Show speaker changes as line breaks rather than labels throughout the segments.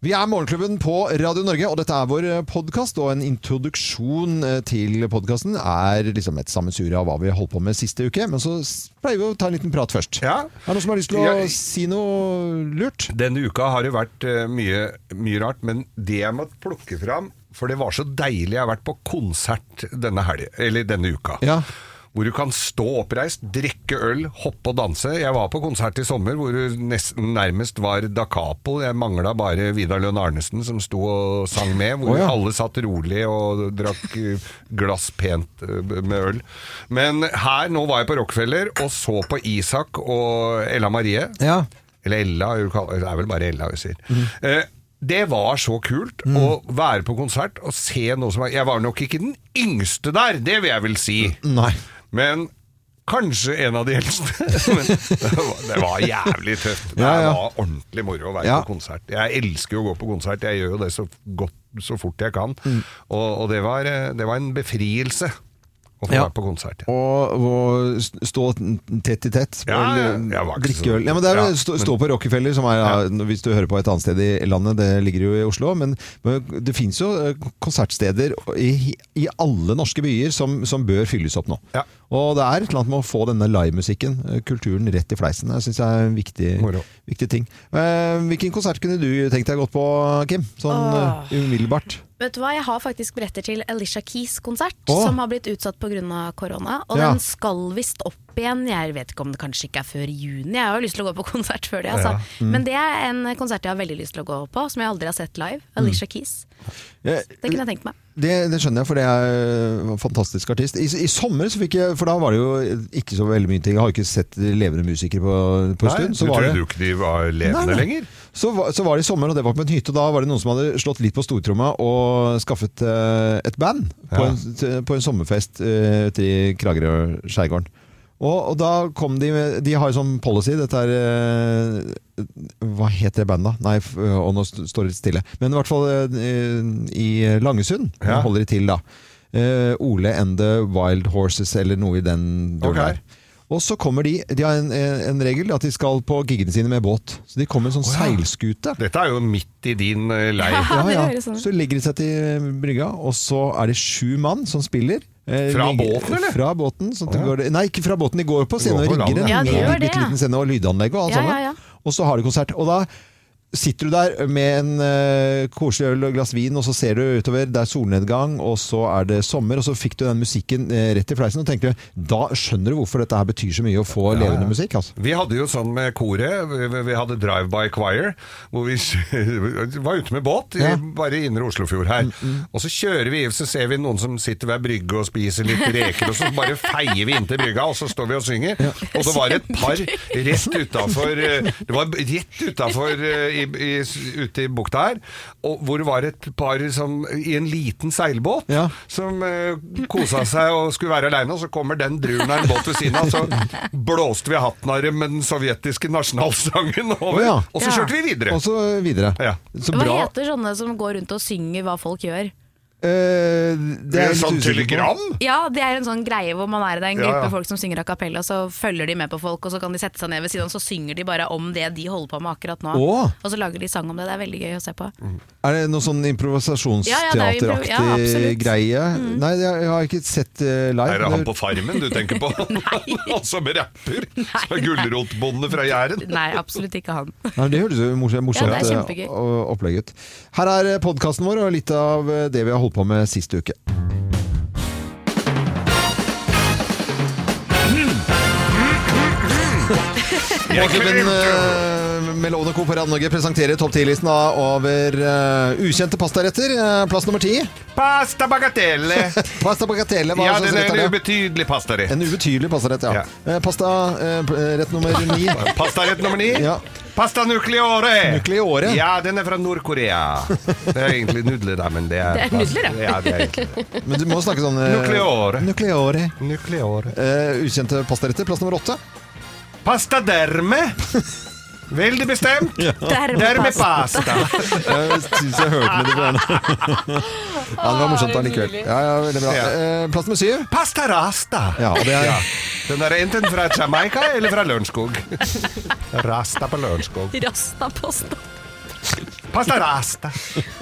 Vi er Morgenklubben på Radio Norge, og dette er vår podkast. Og en introduksjon eh, til podkasten er liksom et sammensurium av hva vi holdt på med siste uke. Men så s- pleier vi å ta en liten prat først.
Ja.
Er det noen som har lyst til å
Ja.
si noe lurt?
Denne uka har det vært eh, mye, mye rart, men det jeg måtte plukke fram For det var så deilig jeg har vært på konsert denne, helg, eller denne uka.
Ja.
Hvor du kan stå oppreist, drikke øl, hoppe og danse. Jeg var på konsert i sommer hvor du nesten nærmest var da capo. Jeg mangla bare Vidar Lønn Arnesen som sto og sang med. Hvor
Å ja.
alle satt rolig og drakk eh, glass pent eh, med øl. Men her, nå var jeg på Rockefeller og så på Isak og Ella Marie.
Ja.
Eller Ella, hun kall- det er vel bare Ella hun sier.
Mhm.
Eh, det var så kult å være på konsert og se noe som er Jeg var nok ikke den yngste der, det vil jeg vel si.
Nei.
Men kanskje en av de eldste. Men det var, det var jævlig tøft. Det
Ja, ja.
var ordentlig moro å være
Ja.
på konsert. Jeg elsker jo å gå på konsert. Jeg gjør jo det så, godt, så fort jeg kan.
Mm.
Og, og det, var, eh, det var en befrielse å få
Ja.
være på konsert.
Og, og st- stå tett i tett og
Ja, ja,
l-
jeg var ikke
drikke
så-
øl. Ja, men det er,
Ja,
jo stå,
men-
stå på Rockefeller, som er, ja. hvis du hører på et annet sted i landet, det ligger jo i Oslo. Men, men det fins jo eh, konsertsteder i, i alle norske byer som, som bør fylles opp nå.
Ja.
Og det er et eller annet med å få denne livemusikken, eh, kulturen, rett i fleisen. Det syns jeg er en viktig,
Moro.
viktig ting. Eh, hvilken konsert kunne du tenkt deg gått på, Kim? Sånn
Åh.
eh, umiddelbart.
Vet du hva, Jeg har faktisk billetter til Alicia Keys konsert,
Åh.
som har blitt utsatt pga. korona. Og
Ja.
den skal visst opp igjen. Jeg vet ikke om det kanskje ikke er før juni. Jeg har jo lyst til å gå på konsert før det. Altså.
Mm.
Men det er en konsert jeg har veldig lyst til å gå på, som jeg aldri har sett live.
Mm.
Alicia Keys.
Jeg-
Det kunne jeg tenkt meg.
Det, det skjønner jeg, for det er øh, en fantastisk artist. I, I sommer, så fikk jeg, for da var det jo ikke så veldig mye ting. Jeg har jo ikke sett levende musikere på, på en
Nei,
stund.
du
Så var,
trodde jo
det,
ikke de var levende
Nei, nei.
lenger?
så, var, så var det i sommer, og det var på en hytte. Og da var det noen som hadde slått litt på stortromma og skaffet eh, et band på,
Ja.
en, på en sommerfest eh, ute i Kragerø-skjærgården. Og, og da kom de med De har jo sånn policy, dette er eh, Hva heter det bandet? Nei, f- og nå st- står det litt stille. Men i hvert fall eh, i Langesund
Ja.
holder de til, da. Eh, Ole and the Wild Horses, eller noe i den duren
Ok.
der. Og så kommer de De har en, en regel at de skal på giggene sine med båt. Så de kommer med en sånn
Å, ja.
seilskute.
Dette er jo midt i din eh, leir.
Ja, det høres sånn ut.
Så legger de seg til eh, brygga, og så er det sju mann som spiller. Eh,
Fra
rigger-
båten, eller?
Fra båten. Sånn at
Å, ja.
det går, nei, ikke fra båten. De går på scenen og
går på
rigger en
land,
ja. Ja, de gjør
bitte
det, ja.
liten scene og lydanlegg og alt
Ja,
sammen.
ja, ja.
Og så har de konsert. Og da sitter du der med en eh, koselig øl og glass vin, og så ser du utover. Det er solnedgang, og så er det sommer. Og så fikk du den musikken eh, rett i fleisen, og tenkte da skjønner du hvorfor dette her betyr så mye å få levende musikk. Altså.
Vi hadde jo sånn med koret, vi, vi hadde Drive by Choir, hvor vi var ute med båt, i-
Ja.
bare i indre Oslofjord her. Og så kjører vi, så ser vi noen som sitter ved brygge og spiser litt reker, og så bare feier vi inntil brygga, og så står vi og synger. Og så var det et par rett utafor eh, Det var rett utafor ute i bukta her, og hvor det var et par som, i en liten seilbåt
Ja.
som eh, kosa seg og skulle være aleine, og så kommer den druren av en båt ved siden av, så blåste vi hatten av dem med den sovjetiske nasjonalsangen over,
Å, ja.
og så
Ja.
kjørte vi videre.
Og så videre.
Ja.
Så
Hva
bra.
heter sånne som går rundt og synger hva folk gjør?
Eh,
Det
jeg
er
litt
sånn
usikker på.
telegram?
Ja, det er en sånn greie hvor man er i det er en
Ja,
gruppe
ja.
folk som synger a cappella, og så følger de med på folk, og så kan de sette seg ned ved siden, og så synger de bare om det de holder på med akkurat nå.
Åh.
Og så lager de sang om det. Det er veldig gøy å se på.
Er det noe sånn
Ja, ja, det er jo impro-
improvisasjonsteateraktig
ja, absolutt. Mm.
greie? Nei, jeg, jeg har ikke sett eh, live.
Er det han
men-
på Farmen du tenker på? Han som rapper? Som er
Nei, nei.
gulrotbonde fra Jæren?
Nei, absolutt ikke han.
Nei, men det høres jo morsomt, morsomt
Ja,
eh,
det er kjempegøy.
o- opplegg ut. Her er eh, podkasten vår og litt av eh, det vi har holdt på med sist uke. Morgenklubben eh, med Lovende Co. på Radio Norge presenterer topp 10-listen av over eh, ukjente pastaretter. Eh, Plass nummer ti.
Pasta bagatelle!
Pasta bagatelle. Hva
Ja,
slags
den
rett
er
er
en
det?
ubetydelig pastarett.
En ubetydelig pastarett, ja.
Ja.
Eh, Pasta eh, p- rett nummer ni.
Pastarett nummer ni.
Ja.
Pasta nucleore.
Nucleore?
Ja, den er fra Nord-Korea. Det er egentlig nudler, da, men det er
Det er nudler,
ja.
ja.
ja det er egentlig det.
Men du må snakke sånn eh,
Nucleore.
Nucleore.
Nukleore.
Eh, ukjente pastaretter. Plass nummer åtte.
Pasta derme. Veldig bestemt. Derme pasta.
Jeg syns jeg hørte med det på henne. Ja, det var morsomt allikevel. Ja, ja, veldig bra.
Ja.
Eh, plass nummer syv.
Pasta rasta.
Ja, og det er
Den er enten fra Jamaica eller fra Lørenskog. Rasta på Lørenskog.
Rastaposta.
Pasta rasta.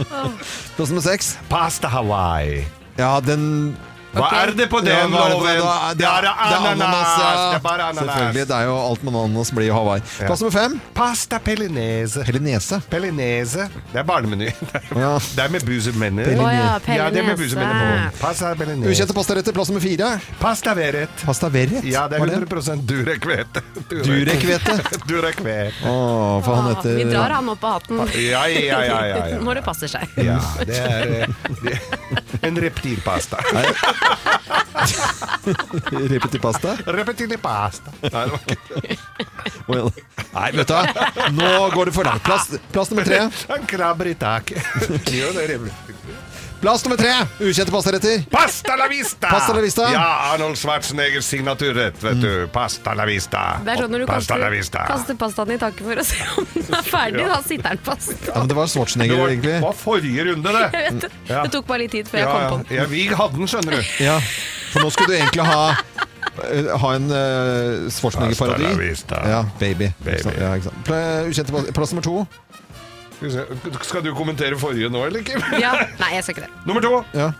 Plass nummer seks.
Pasta Hawaii.
Ja, den
Hva
Ok.
er det på
Ja,
den
hva er det for
loven?
noe? Da-
Det er ananas!
ja.
Det er bare
Selvfølgelig.
ananas.
Det er jo alt med ananas blir jo Hawaii.
Ja.
Plass nummer fem.
Pasta pelinese.
Pelinese.
Pelinese. Det er barnemeny.
Ja.
Det er med busemennene.
Pelinese.
Å ja,
Ja, det er med
pelinese.
busemennene på. Pasta pelinese.
Ukjente pastaretter. Plass nummer fire.
Pasta veret.
Pasta verret.
Ja, det er
var
100 durekvete.
Durekvete.
Durekvete.
Å, for han
Ah,
heter
Vi drar han opp av hatten
Ja, ja, ja, ja, ja.
når det passer seg.
Ja, det er eh, det- en reptilpasta.
Repetipasta.
Reptilpasta. Nei, det var ikke-
Nei, vet du hva. Nå går det for langt. Plass, plass nummer tre.
Han krabber i taket. Jo, det er reptil.
Plass nummer tre. Ukjente pastaretter.
Pasta la vista!
Pasta la vista. Mm.
Ja, Arnold Schwarzeneggers signaturrett, vet du. Pasta la vista.
Det er sånn når du
Pasta la vista.
kaster, kaster pastaen i taket for å se om den er ferdig. Da sitter den fast.
Ja, men det var
Det
Schwarzenegger,
var,
egentlig.
var forrige runde, det.
Jeg vet det.
Ja.
Det tok bare litt tid før jeg
Ja,
kom på
ja.
den.
ja, vi hadde den, skjønner du.
Ja, for nå skulle du egentlig ha eh, ha en uh,
Hasta la
Schwarzenegger-parodi.
vista.
Ja, baby.
Baby.
Ikke sant? Ja, ikke sant. Pla- Ukjente plass, plass nummer to.
Skal vi se, Skal du kommentere forrige nå, eller ikke?
Ja. Nei, jeg skal ikke det.
Nummer to.
Ja.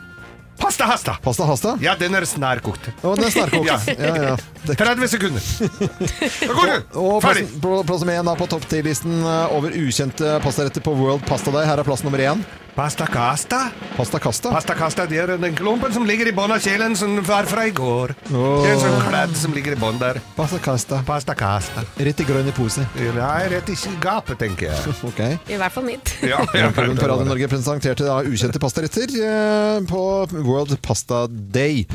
Pasta hasta.
Pasta hasta.
Ja, den er snarkokt.
Å, den er snarkokt.
Ja.
Ja, ja. Det,
30 sekunder. Da går du.
og plass,
Ferdig.
pl- plass nummer én da på topp 10-listen eh, over ukjente pastaretter på World Pasta Day. Her er plass nummer én.
Pasta casta.
Pasta casta.
Pasta casta det er den klumpen som ligger i bånn av kjelen som var fra i går.
Åh.
Det er en sånn kladd som ligger i bånn der.
Pasta casta.
Pasta casta.
Rett i grønn i pose.
Nei, rett i gapet, tenker jeg.
Ok.
I hvert fall mitt.
Ja, jeg
Klubben
vet
på
det
Radio
var det.
Norge presenterte da ukjente pastaretter eh, på World Pasta Day.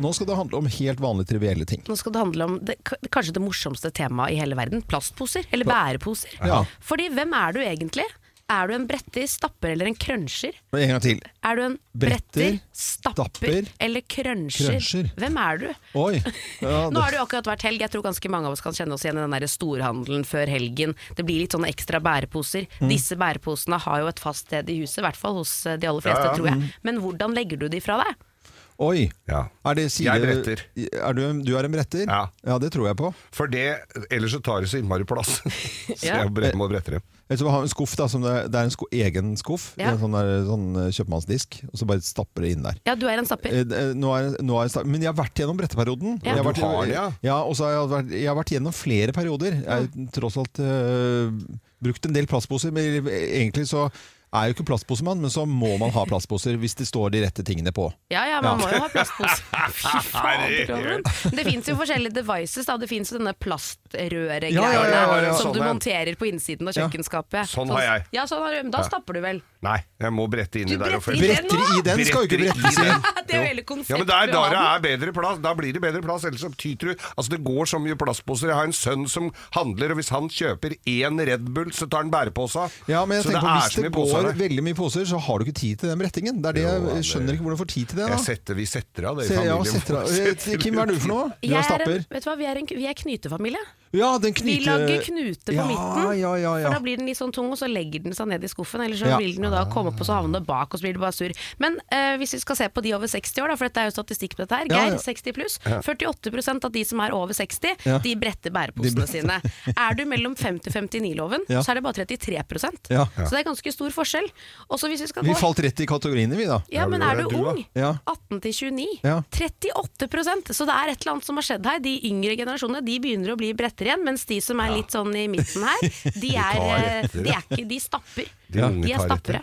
Nå skal det handle om helt vanlige trivielle ting.
Nå skal det handle om det, k- kanskje det morsomste temaet i hele verden. Plastposer, eller bæreposer.
Ja.
Fordi hvem er du egentlig? Er du en bretter, stapper eller en cruncher?
En gang til.
Er du en
Bretter,
bretter, stapper,
stapper,
eller cruncher?
cruncher.
Hvem er du?
Oi. Ja,
Nå har det jo akkurat vært helg, jeg tror ganske mange av oss kan kjenne oss igjen i den der storhandelen før helgen. Det blir litt sånne ekstra bæreposer. Disse bæreposene har jo et fast sted i huset, i hvert fall hos eh, de aller fleste,
Ja, ja.
tror jeg. Men hvordan legger du de fra deg?
Oi.
Ja.
Er det side...
Jeg er bretter.
Er du, en- du er en bretter?
Ja.
det tror jeg på.
For det, ellers så tar det så innmari plass. Så
Ja.
jeg bre- må brette det.
Ellers så har vi en skuff da, som det, det er en sko, egen skuff.
Ja.
En sånn, der, sånn eh, kjøpmannsdisk, og så bare stapper det inn der.
Ja, du er en stapper.
Eh, eh, Nå er, nå er, jeg sta- men jeg har vært gjennom bretteperioden.
Ja.
Jeg har vært,
Du har det, ja.
og så har jeg, vært, jeg har vært gjennom flere perioder. Jeg har tross alt eh, brukt en del plastposer, men egentlig så er jeg jo ikke plastposemann, men så må man ha plastposer hvis det står de rette tingene på.
Ja ja, man må jo ha plastpose. Fy fader, Loven. Det fins jo forskjellige devices. da Det fins denne plastrøregreiene
Ja, ja, ja, ja, ja.
som du
Sånn er-
monterer på innsiden av kjøkkenskapet.
Sånn har jeg.
Ja, sånn har du. Da stapper du vel.
Nei, jeg må brette inni
Du
der. og
bretter
følge-
i
Bretter i den skal jo ikke
Bretter i
brettes i.
den.
Det er jo
Jo.
hele konseptet
Ja, men der,
med
der
hanen.
er bedre plass, da blir det bedre plass, ellers så tyter du Altså, det går så mye plastposer. Jeg har en sønn som handler, og hvis han kjøper én Red Bull, så tar han bæreposa.
Ja, men jeg
så
tenker på Hvis det går
der.
veldig mye poser, så har du ikke tid til den brettingen. Det er det,
Jo,
jeg-
det-
jeg skjønner ikke hvordan du får tid til det. da.
Jeg setter, vi setter av det i
Se, ja,
familien.
setter, av. Eh, Kim, hva er du for noe? Du
Jeg
har
er en,
stapper.
vet du hva, vi er, en, vi er knutefamilie.
Ja, den
Vi
knute...
lager knute på
Ja,
midten,
ja, ja, ja.
for da blir den litt sånn tung, og så legger den seg ned i skuffen. Eller så
Ja.
vil den jo da komme opp, og så havner det bak, og så blir det bare sur. Men eh, hvis vi skal se på de over 60 år, da, for dette er jo statistikk på dette her.
Ja,
Geir,
ja.
60 pluss. 48 av de som er over 60,
Ja.
de bretter bæreposene sine. Er du mellom 50-59-loven,
Ja.
så er det bare 33
Ja.
Så det er ganske stor forskjell. Og så hvis vi skal
Vi
gå
falt rett i kategoriene, vi da.
ja, men
hvor
er
er
du,
du, da?
ung?
Ja.
18 til 29?
Ja.
38 Så det er et eller annet som har skjedd her. De yngre generasjonene de begynner å bli brettere igjen, mens de som er litt sånn i midten her, de er,
tar etter,
eh, de
ja.
er ikke De stapper.
De unge
de er
tar etter.
stappere.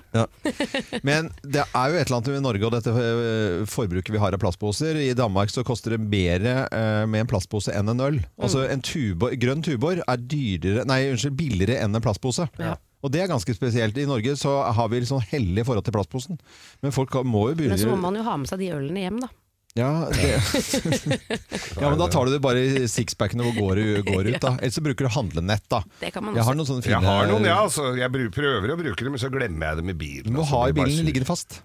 Ja. Men det er jo et eller annet med Norge og dette eh, forbruket vi har av plastposer. I Danmark så koster det mer eh, med en plastpose enn en øl.
Mm.
Altså en tubor, grønn Tuborg er dyrere, nei, unnskyld, billigere enn en plastpose.
Ja.
Og det er ganske spesielt. I Norge så har vi litt sånn hellig forhold til plastposen. Men folk må jo
Men så må
begynne
man jo ha med seg de ølene hjem, da.
ja, det. ja, men da tar du det bare i sixpacken og går, går ut, da. Ellers så bruker du handlenett, da.
Det kan man
Jeg
også.
har noen sånne fine
Jeg har noen, ja. Altså, jeg bru- prøver å bruke dem, men så glemmer jeg dem i bilen.
Du må
altså,
ha i
blir bare
bilen
sur.
liggende fast.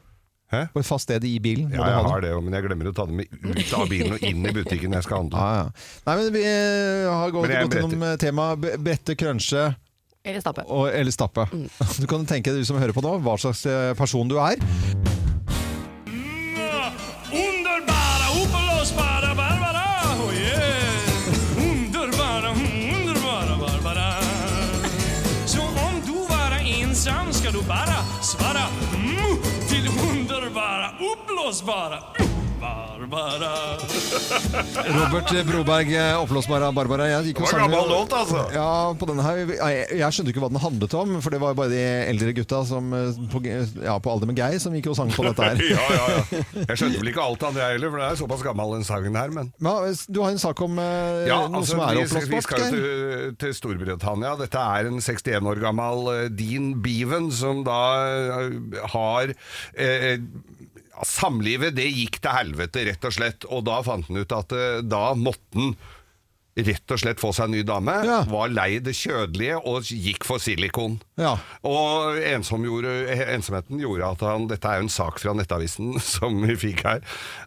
Hæ?
På et fast sted i bilen. må
Ja,
du ha
jeg
dem.
har det, jo, men jeg glemmer å ta dem ut av bilen og inn i butikken når jeg skal handle.
Ja, ja. Nei, men vi eh, har gått,
Men jeg er
gått gjennom temaet brette, crunche
Eller stappe.
og, eller stappe. Du kan tenke deg, du som hører på nå, hva slags eh, person du er.
Underbara, oblåsbara Barbara! Oh yeah! Underbara, underbara Barbara! Så om du var en du bara svara mm, till underbara, uppblåsbara mm, Barbara.
Robert Broberg, eh, oppblåsbara Barbara. Jeg gikk jo
Det var
sammen med-
gammel låt, altså.
Ja, på denne her, jeg, jeg skjønte ikke hva den handlet om, for det var bare de eldre gutta som, eh, på, ja, på alder med Geir som gikk og sang på dette her.
ja, ja, ja. Jeg skjønte vel ikke alt av det heller, for det er såpass gammel den sangen her, men
Men, du har en sak om eh,
ja,
noe
altså,
som er
vi, skal- vi
oppblåsbart,
skal jo
Geir.
til, til Storbritannia. Dette er en 61 år gammel eh, Dean Beaven som da eh, har eh, eh, ja, Samlivet, det gikk til helvete, rett og slett. Og da fant han ut at eh, da måtte han rett og slett få seg en ny dame.
Ja.
Var lei det kjødelige og gikk for silikon.
Ja.
Og ensom gjorde, ensomheten gjorde at han Dette er jo en sak fra Nettavisen som vi fikk her.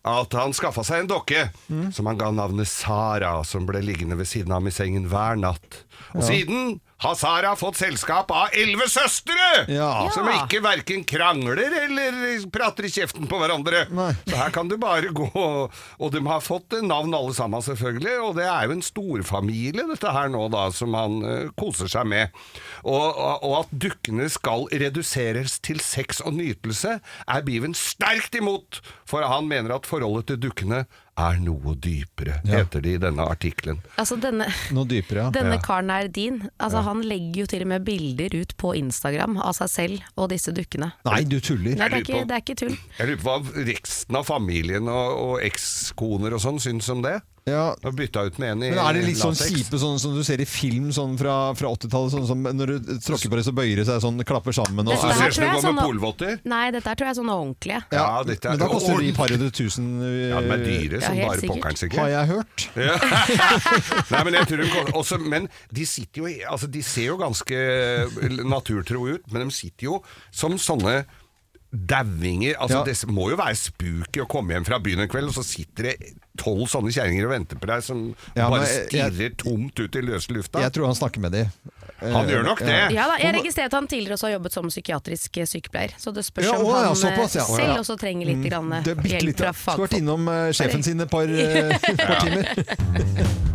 At han skaffa seg en dokke
Mm.
som han ga navnet Sara, som ble liggende ved siden av ham i sengen hver natt. Og siden har Sara fått selskap av elleve søstre!
Ja.
Som
Ja.
ikke verken krangler eller prater i kjeften på hverandre.
Nei.
Så her kan du bare gå og- Og de har fått navn alle sammen, selvfølgelig. Og det er jo en storfamilie, dette her nå, da, som han eh, koser seg med. Og, og, og at dukkene skal reduseres til sex og nytelse, er Beaven sterkt imot! For han mener at forholdet til dukkene er noe dypere,
Ja.
heter det i denne artikkelen.
Altså denne,
Noe dypere, ja.
denne
Ja.
karen er din. Altså, Han legger jo til og med bilder ut på Instagram av seg selv og disse dukkene.
Nei, du tuller.
Nei,
lurer
det er ikke,
på-
det er ikke tull.
Jeg lurer på hva resten av familien og, og ekskoner og sånn syns om det?
Ja.
Og bytta ut med en i
Men er det litt sånn
latex.
kjipe sånn som du ser i film sånn fra, fra 80-tallet? Sånn som når du tråkker på det, så bøyer det seg sånn, klapper sammen og
Dette
Du
her
ser som
tror jeg
du går med
sånn-
polvotter?
Nei, dette her tror jeg er sånne ordentlige.
Ja, dette er
Men da koster de
ordentlig.
par hundre tusen, eh,
Ja, de er dyre som
helt
bare
sikkert.
pokkeren,
har
sikkert.
jeg hørt.
Nei, men, jeg tror de går, også, men de sitter jo i- altså, De ser jo ganske eh, naturtro ut, men de sitter jo som sånne Dauinger. Altså,
Ja.
Det må jo være spooky å komme hjem fra byen en kveld, og så sitter det tolv sånne kjerringer og venter på deg som
Ja, men
bare
jeg-
stirrer tomt ut i løse lufta.
Jeg tror han snakker med de. Eh,
Han gjør nok det.
Ja da, Jeg registrerte at han tidligere også har jobbet som psykiatrisk eh, sykepleier, så det spørs
Ja,
om
å, ja,
han eh,
såpass, ja. Å, ja. Mm,
selv også trenger litt grann eh,
Det er bitte
hjelp
litt.
fra
Skulle vært
fagfolk.
innom eh, sjefen sin et par, eh, par timer.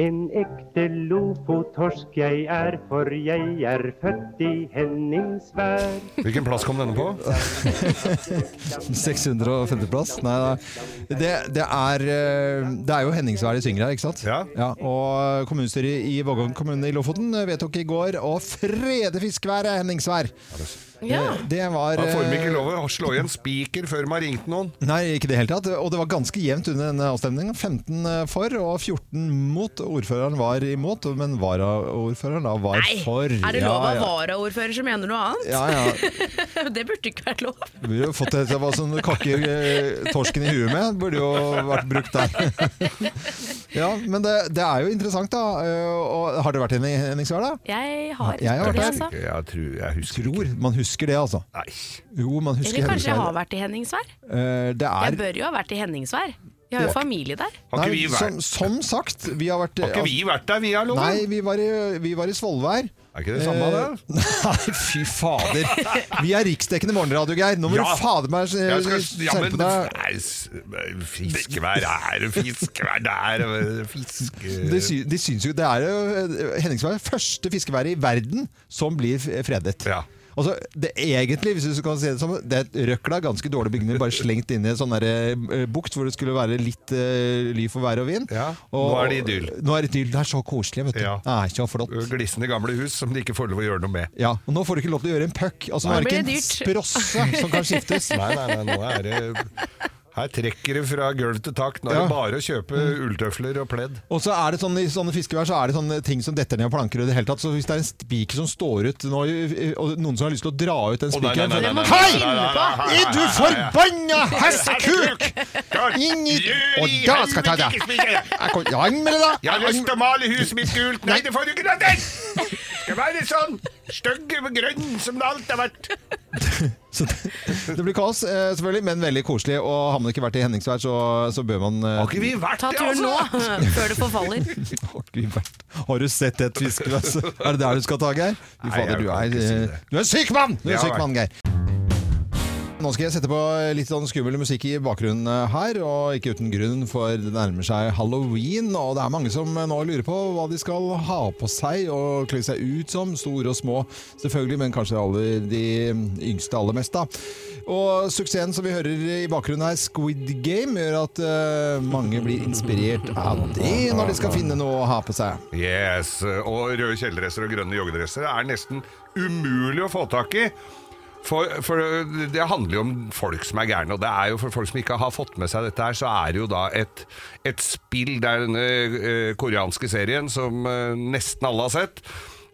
En ekte lofotorsk jeg er, for jeg er født i Henningsvær.
Hvilken plass kom denne på?
650-plass? Nei, nei. Det, det, er, eh, det er jo Henningsvær de synger her, ikke sant?
Ja.
og kommunestyret i Vågå kommune i Lofoten vedtok i går å frede fiskeværet Henningsvær.
Ja.
Eh, Det var
Da får de ikke
eh,
lov å slå igjen spiker før de har ringt noen.
Nei, ikke det hele tatt. Og det var ganske jevnt under denne avstemningen. 15 for og 14 mot. Ordføreren var imot, men varaordføreren da var
Nei,
for.
er det lov av
ja, ja.
varaordfører som mener noe annet?
Ja, ja.
Det burde ikke vært lov.
Vi har jo fått et hva som du kakker sånn eh, torsken i huet med. Burde jo vært brukt der. Ja, men det, det er jo interessant, da. Eh, Og har det vært en i Henningsvær, da?
Jeg har
Jeg har
ikke det,
vært
altså.
Jeg tror jeg husker
Tror man husker det, altså.
Nei.
Jo, man husker
Eller kanskje jeg har
Henningsvær.
vært i Henningsvær?
Eh, Det
Jeg
er
bør jo ha vært i Henningsvær. Vi har jo familie der.
Har ikke vi vært,
som, som sagt, vi har vært
har ikke vi vært der, vi, Loven?
Nei, vi var i, vi var i Svolvær.
Er ikke det samme, det?
Eh, Nei, fy fader. Vi er riksdekkende morgenradio, Geir. Nå må
Ja.
du fader meg eh,
Jeg skal, ja, men
skjerpe deg.
nei, s- fiskevær er det fiskevær der og Fiske...
De, sy de syns jo Det er jo eh, Henningsvær, første fiskeværet i verden som blir f- fredet.
Ja.
Altså, det egentlig, hvis du kan se det som Det er et røkla, ganske dårlig bygning, bare slengt inn i en sånn der, eh, bukt hvor det skulle være litt eh, ly for vær og vind.
Ja,
Og-
nå er det idyll.
Nå er det idyll. Det er så koselig, vet du.
Ja.
Det er så flott.
Glissende gamle hus som de ikke får lov å gjøre noe med.
Ja, og nå får du ikke lov til å gjøre en puck. Altså, nå
Nei.
er det ikke
Blir det
en sprosse som kan skiftes.
Nei, nei, nei, nå er det Her trekker det fra gulv til tak. Nå er
Ja.
det bare å kjøpe ulltøfler og pledd.
Og så er det sånn, I sånne fiskevær så er det sånne ting som detter ned og planker. og i det hele tatt, så Hvis det er en spiker som står ut, nå, og noen som har lyst til å dra ut den
Å, nei, nei,
spikeren
nei, nei, nei,
Hei!
nei, nei, nei, nei, nei,
Er du forbanna hessekuk! Inn i
Gjør
Og
i
da skal jeg ta
helvete
deg!
ikke spiker!
Jeg kan ikke anmelde deg!
Jeg har lyst til å male huset mitt gult. Nei, det får du ikke lov til! Skal være sånn stygg og grønn som det alt har vært.
Så det, det blir kaos, eh, selvfølgelig, men veldig koselig. Og har man ikke vært i Henningsvær, så, så bør man eh,
Har ikke vi vært
Ta
det,
turen nå,
altså?
før det forfaller.
har, ikke vi vært, har du sett et fiskevær? så- Er det der du skal ta, Geir? Fy
Nei,
fader,
jeg
du
kan
er,
ikke si
eh,
det.
du er en syk mann! Du er en
Jeg har
syk mann, Geir. Nå skal jeg sette på litt sånn skummel musikk i bakgrunnen eh, her, og ikke uten grunn, for det nærmer seg halloween, og det er mange som eh, nå lurer på hva de skal ha på seg og kle seg ut som, store og små selvfølgelig, men kanskje alle de yngste aller mest, da. Og suksessen som vi hører i bakgrunnen her, Squid Game, gjør at eh, mange blir inspirert av det når de skal finne noe å ha på seg.
Yes, og røde kjeledresser og grønne joggedresser er nesten umulig å få tak i. For, for det handler jo om folk som er gærne, og det er jo for folk som ikke har fått med seg dette her, så er det jo da et, et spill, det er denne eh, koreanske serien som eh, nesten alle har sett,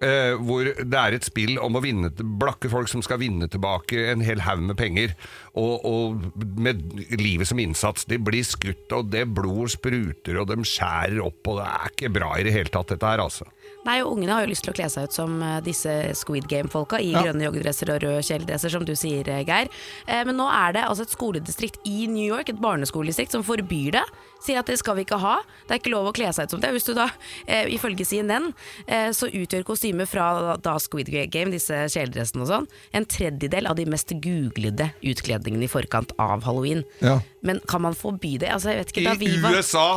eh, hvor det er et spill om å vinne, blakke folk som skal vinne tilbake en hel haug med penger, og, og med livet som innsats. De blir skutt, og det blod spruter, og de skjærer opp, og det er ikke bra i det hele tatt, dette her, altså.
Nei, og Ungene har jo lyst til å kle seg ut som eh, disse Squid Game-folka i grønne joggedresser og røde kjeledresser, som du sier, eh, Geir. Eh, Men nå er det altså et skoledistrikt i New York, et barneskoledistrikt, som forbyr det. Sier at det skal vi ikke ha. Det er ikke lov å kle seg ut som det. Hvis du da, eh, ifølge CNN, eh, så utgjør kostymet fra da Squid Game, disse kjeledressene og sånn, en tredjedel av de mest googlede utkledningene i forkant av halloween.
Ja.
Men kan man forby det? Altså, jeg vet ikke, da vi
I
var
USA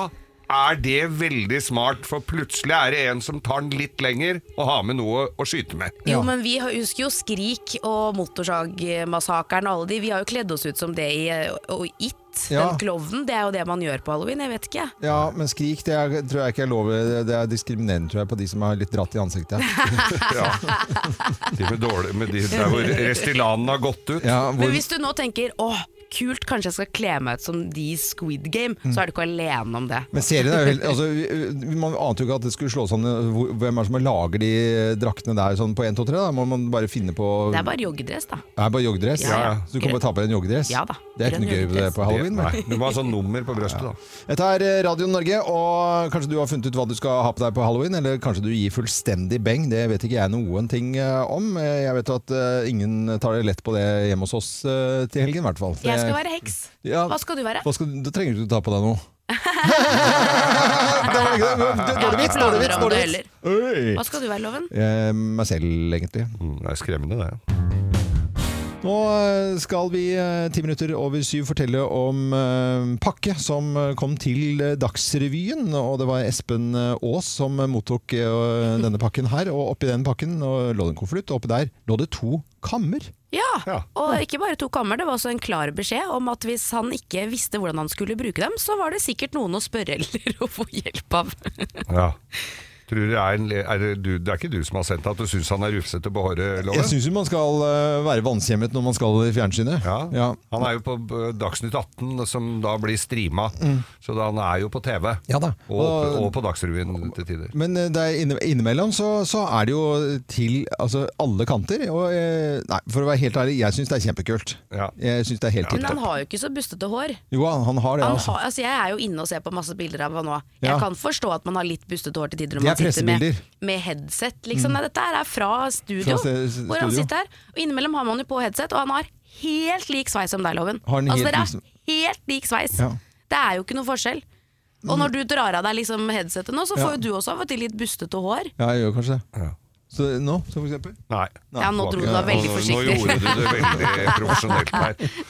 er det veldig smart, for plutselig er det en som tar den litt lenger og har med noe å skyte med.
Ja.
Jo, men vi har- husker jo Skrik og Motorsagmassakren og alle de. Vi har jo kledd oss ut som det i eh, og It,
Ja.
den klovnen. Det er jo det man gjør på halloween, jeg vet ikke.
Ja, men skrik, det er, tror jeg ikke er lov. Det er diskriminerende, tror jeg, på de som har litt dratt i ansiktet.
Ja. De med dårlig, med de der hvor Restylane har gått ut.
Ja,
Men
hvor,
hvis du nå tenker åh, kult, kanskje jeg skal kle meg ut som de i Squid Game, så er du ikke alene om det.
Mm. men serien er jo helt altså, vi- vi- Man ante jo ikke at det skulle slå sånn hvor- Hvem er det som lager de draktene der sånn på 1, 2, 3? Da må man bare finne på
Det er bare joggedress, da.
Det er bare joggedress?
Ja, ja.
Så du kan bare ta på deg en joggedress?
Ja da.
Det er ikke noe gøy
Grønn
på det på
Det-
halloween? vel?
Nei, du må ha sånn nummer på brøstet, da.
Dette er Radio Norge, og kanskje du har funnet ut hva du skal ha på deg på halloween, eller kanskje du gir fullstendig beng, det vet ikke jeg noen ting eh, om. Eh, Jeg vet jo at eh, ingen tar det lett på det hjemme hos oss eh, til helgen, i hvert fall.
Jeg skal være heks.
Ja.
Hva skal du være?
Hva skal, da trenger du ikke ta på deg noe. det var ikke det. Det- Dårlig vits, dårlig vits. Dårlig vits. Oi.
Hva skal du være, Loven?
Eh, Meg selv, egentlig.
Mm, Det er skremmende, det.
Nå eh, skal vi eh, ti minutter over syv fortelle om eh, pakke som eh, kom til eh, Dagsrevyen. Og det var Espen eh, Aas som eh, mottok eh, denne pakken her. Og oppi den pakken og lå det en konvolutt, og oppi der lå det to kammer.
Ja.
Ja.
og ikke bare to kammer, det var også en klar beskjed om at hvis han ikke visste hvordan han skulle bruke dem, så var det sikkert noen å spørre eller å få hjelp av.
Ja. Tror du det er, en, le- er det, du, det er ikke du som har sendt at du syns han er rufsete på håret, Loven?
Jeg syns jo man skal eh, være vanskjemmet når man skal i fjernsynet.
Ja.
Ja.
Han er jo på eh, Dagsnytt 18, som da blir streama. Så da, han er jo på TV.
Mm. Ja da.
Og, og på Dagsrevyen til tider.
Men eh, det er inne, innimellom så, så er det jo til altså, alle kanter. Og, eh, nei, for å være helt ærlig, jeg syns det er kjempekult.
Ja.
Jeg syns det er helt
Men han
tipp topp.
har jo ikke så bustete hår.
Jo, han, han har det.
Han
altså.
har, altså jeg er jo inne og ser på masse bilder av han nå. Jeg
Ja.
kan forstå at man har litt bustete hår til tider
Det er
når man sitter med,
pressebilder. Mm.
med headset. Liksom. Nei, dette her er fra studio,
Fra ste- s-
hvor han
studio.
sitter her. Og innimellom har man jo på headset, og han har helt lik sveis som deg, Loven.
Har han helt
altså dere
lik som-
er helt lik sveis.
Ja. Mm.
Det er jo ikke noe forskjell. Og når du drar av deg liksom headsetet nå, så
Ja.
får jo du også av og til litt bustete hår.
Ja, jeg gjør kanskje det.
Ja.
Så nå, så for eksempel.
Nei.
Ja, nå dro du deg veldig
Nå-
forsiktig.
Nå gjorde du det veldig profesjonelt her.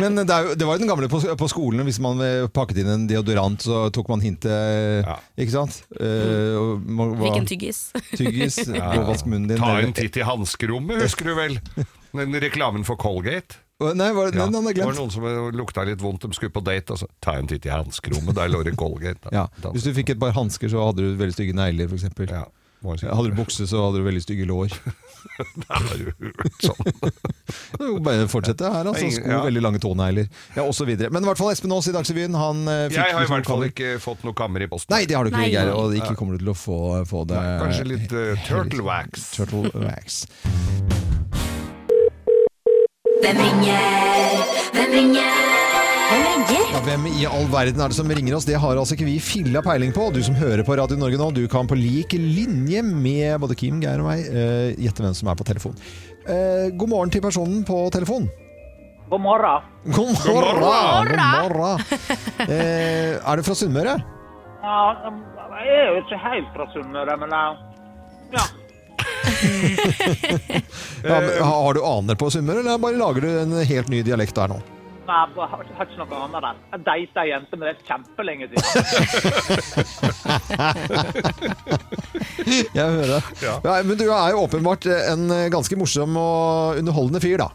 Men eh, det, er jo, det var jo den gamle på, på skolen. Hvis man eh, pakket inn en deodorant, så tok man hintet. eh,
Ja.
Ikke sant? Eh, og må- hva-
Fikk en tyggis.
tyggis. gå og Vask munnen din.
Ta en
eller-
titt i hanskerommet, husker du vel? Den reklamen for Colgate.
Å, Nei, var,
Ja.
den hadde jeg
Det var
glemt.
noen som lukta litt vondt, de skulle på date, og så ta en titt i hanskerommet, der lå det Colgate. Da.
Ja.
Da-
Hvis du fikk et par hansker, så hadde du veldig stygge negler, f.eks.
ja. må jeg si.
Hadde du bukse, så hadde du veldig stygge lår.
Da har du hørt sånn.
Det er jo Bare fortsette her, altså. Sko,
Ja.
veldig lange tånegler, ja, osv. Men i hvert fall Espen Aas i Dagsrevyen, han eh, fikk
Jeg har i
liksom
hvert fall
kammer.
ikke fått noe kammer i posten.
Nei, det har du ikke,
Nei.
Geir. Og ikke kommer du til å få, få det.
Kanskje litt eh, turtle wax.
Turtle wax.
Hvem ringer? Hvem ringer? Hvem ringer?
Ja, hvem i all verden er det som ringer oss? Det har altså ikke vi filla peiling på. Du som hører på Radio Norge nå, du kan på lik linje med både Kim, Geir og meg eh, gjette hvem som er på telefon. Eh, god morgen til personen på telefon.
God morgen.
God morgen!
God morgen!
God morgen. Eh, er det fra Sunnmøre?
eh, Ja, jeg er jo ikke helt fra Sunnmøre, men jeg-
Ja,
ja.
Eh,
men, har du aner på Sunnmøre, eller bare lager du en helt ny dialekt der nå?
Nei, jeg har ikke- har ikke noe annet enn Jeg deita ei jente, men det er kjempelenge siden.
Jeg hører det.
Ja.
Nei, men du er jo åpenbart en ganske morsom og underholdende fyr, da.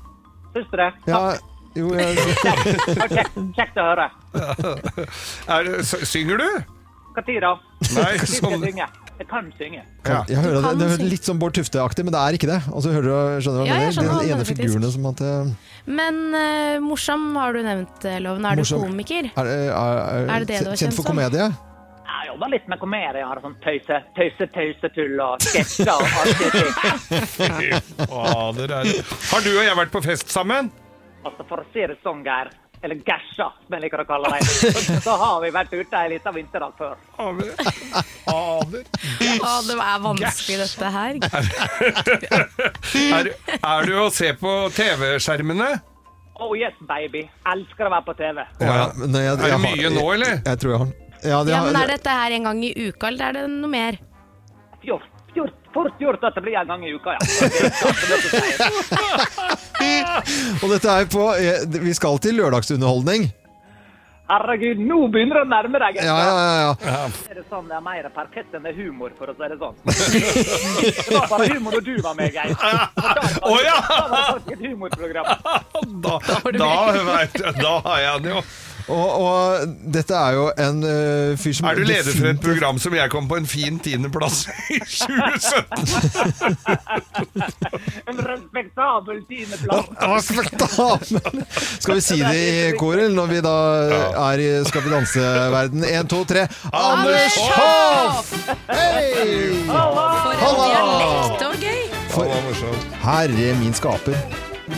Syns du det?
Ja, jo, jeg,
Ja, Kjekt kjekt å høre.
Er, det- s- synger du?
Når da?
Nei,
Når skal jeg
sånn
synge? Jeg kan synge.
ja.
jeg hører det,
kan
det er
si-
litt sånn Bård Tufte-aktig, men det er ikke det. Altså, hører du, skjønner du hva
Ja,
jeg
jeg skjønner hva
mener? De
du
ene
mener,
figurene som at eh,
Men eh, morsom har du nevnt, eh, Loven. Er
Morsom.
du komiker?
Er, er, er,
Er det det du er
kjent
kjent
for
som?
komedie?
Jeg jobber litt med komedie. Jeg har sånn tøyse, tøyse, tøysetull og sketsjer og alt det der.
Fader, er det- Har du og jeg vært på fest sammen?
Altså, for å si det sånn, Geir, eller gasja, som jeg liker å kalle det, så har vi vært ute en liten vinterdag før.
Fader. Fader.
Å, det er vanskelig dette her.
Er, er du å se på TV-skjermene?
Oh yes, baby. Elsker å være på TV.
Ja.
men jeg-
Er det
jeg har-
mye nå, eller?
Jeg, jeg tror jeg har den. Ja, det,
Ja,
har-
men Er dette her en gang i uka, eller er det noe mer?
Fjort, fjort, fort gjort at det blir en gang i uka, ja. Det er sant, det er sant, det er sant.
Og dette er på eh, Vi skal til lørdagsunderholdning.
Herregud, nå begynner det å nærme deg.
Ja, ja, ja. ja.
Er det sånn det er mer parkett enn det er humor, for å si det sånn? Det var bare humor da du var med, Geir. For da var
Å,
det-
ja!
Da var det faktisk et humorprogram.
Da, da, vet jeg- da har jeg den jo.
Og, og dette er jo en eh, fyr som
Er du leder for et
definitivt-
program som jeg kom på en fin tiendeplass i 2017?
En respektabel tiendeplass.
Respektabel. Skal vi si det i koret når vi da eh, er i Skal vi danse-verden? Én, to, tre. Anders Hoff! Hei!
For en
Halla!
dialekt og gøy!
Ja, det var morsomt.
Herre min skaper.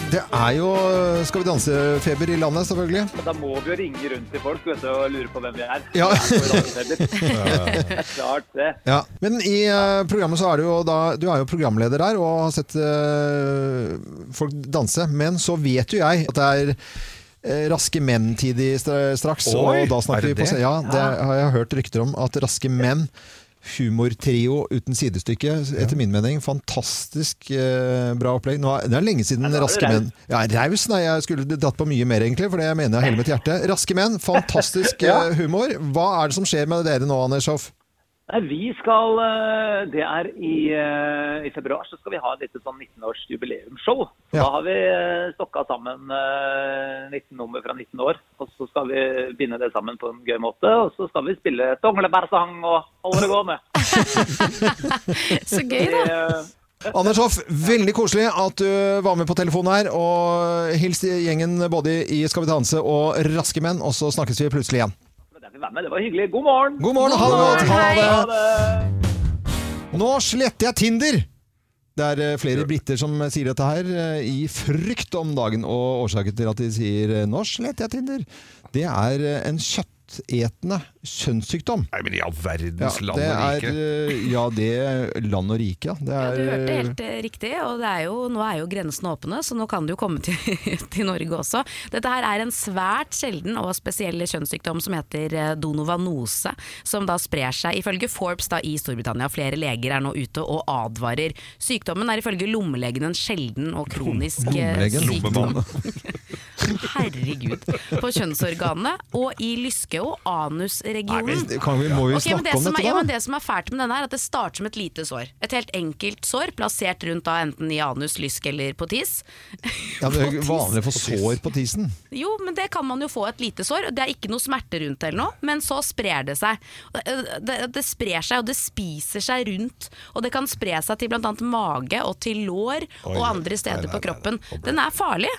Det er jo eh, Skal vi danse-feber i landet, selvfølgelig.
Da må vi jo ringe rundt til folk vet du, og lure på hvem vi er.
Ja.
Vi er på radioteller. Klart det.
Ja. Men i eh, programmet så er du jo da Du er jo programleder der og har sett eh, folk danse. Men så vet jo jeg at det er eh, Raske menn-tid i stra- straks.
Oi,
og da
er
snakker
det
vi på
det?
Ja, det har jeg hørt rykter om. At Raske menn, humortrio uten sidestykke, etter min mening. Fantastisk eh, bra opplegg. Nå er, det er lenge siden
da er du
Raske
raus.
menn Ja, raus, nei. Jeg skulle dratt på mye mer, egentlig. For det mener jeg av hele mitt hjerte. Raske menn, fantastisk
Ja.
eh, humor. Hva er det som skjer med dere nå, Anders Hoff?
Nei, vi skal eh, Det er i, eh, i februar så skal vi ha et lite sånn 19-årsjubileumsshow. Så
Ja.
Da har vi eh, stokka sammen eh, 19 nummer fra 19 år. Og så skal vi binde det sammen på en gøy måte. Og så skal vi spille donglebærsang og holde det gående.
Så gøy, da.
Eh,
Anders Hoff, veldig koselig at du var med på telefonen her. Og hils gjengen både i Skal vi danse og Raske menn, og så snakkes vi plutselig igjen.
det vil være med. Det var hyggelig. God morgen!
God morgen, ha det godt!
Ha
Ha det.
det!
Nå sletter jeg Tinder! Det er eh, flere briter som sier dette her eh, i frykt om dagen, og årsaken til at de sier eh, 'nå sletter jeg Tinder', det er eh, en kjøttetende kjønnssykdom.
Nei, men i all
Ja,
verdens land
det
og
er,
rike.
eh, ja, det land og rike, ja. Det
Ja, du
er,
hørte
eh,
helt eh, riktig, og det er jo, nå er jo grensene åpne, så nå kan det jo komme til, til Norge også. Dette her er en svært sjelden og spesiell kjønnssykdom som heter eh, donovanose, som da sprer seg ifølge Forbes da i Storbritannia. Flere leger er nå ute og advarer. Sykdommen er ifølge lommelegen en sjelden og kronisk eh,
Lommelegen?
sykdom.
Lommemann.
Herregud. På kjønnsorganene og i lyske- og anusregionen.
Kan vi, må vi
Ok, men
snakke
det,
om
som er,
dette,
ja, men
da?
det som er fælt med denne, er at det starter som et lite sår. Et helt enkelt sår, plassert rundt da enten i anus, lysk eller på tiss.
Ja, det er vanlig å få sår på tisen.
Jo, men det kan man jo få, et lite sår. og Det er ikke noe smerte rundt det eller noe, men så sprer det seg. Det, det, det sprer seg, og det spiser seg rundt. Og det kan spre seg til bl.a. mage og til lår og andre steder på kroppen. Den er farlig.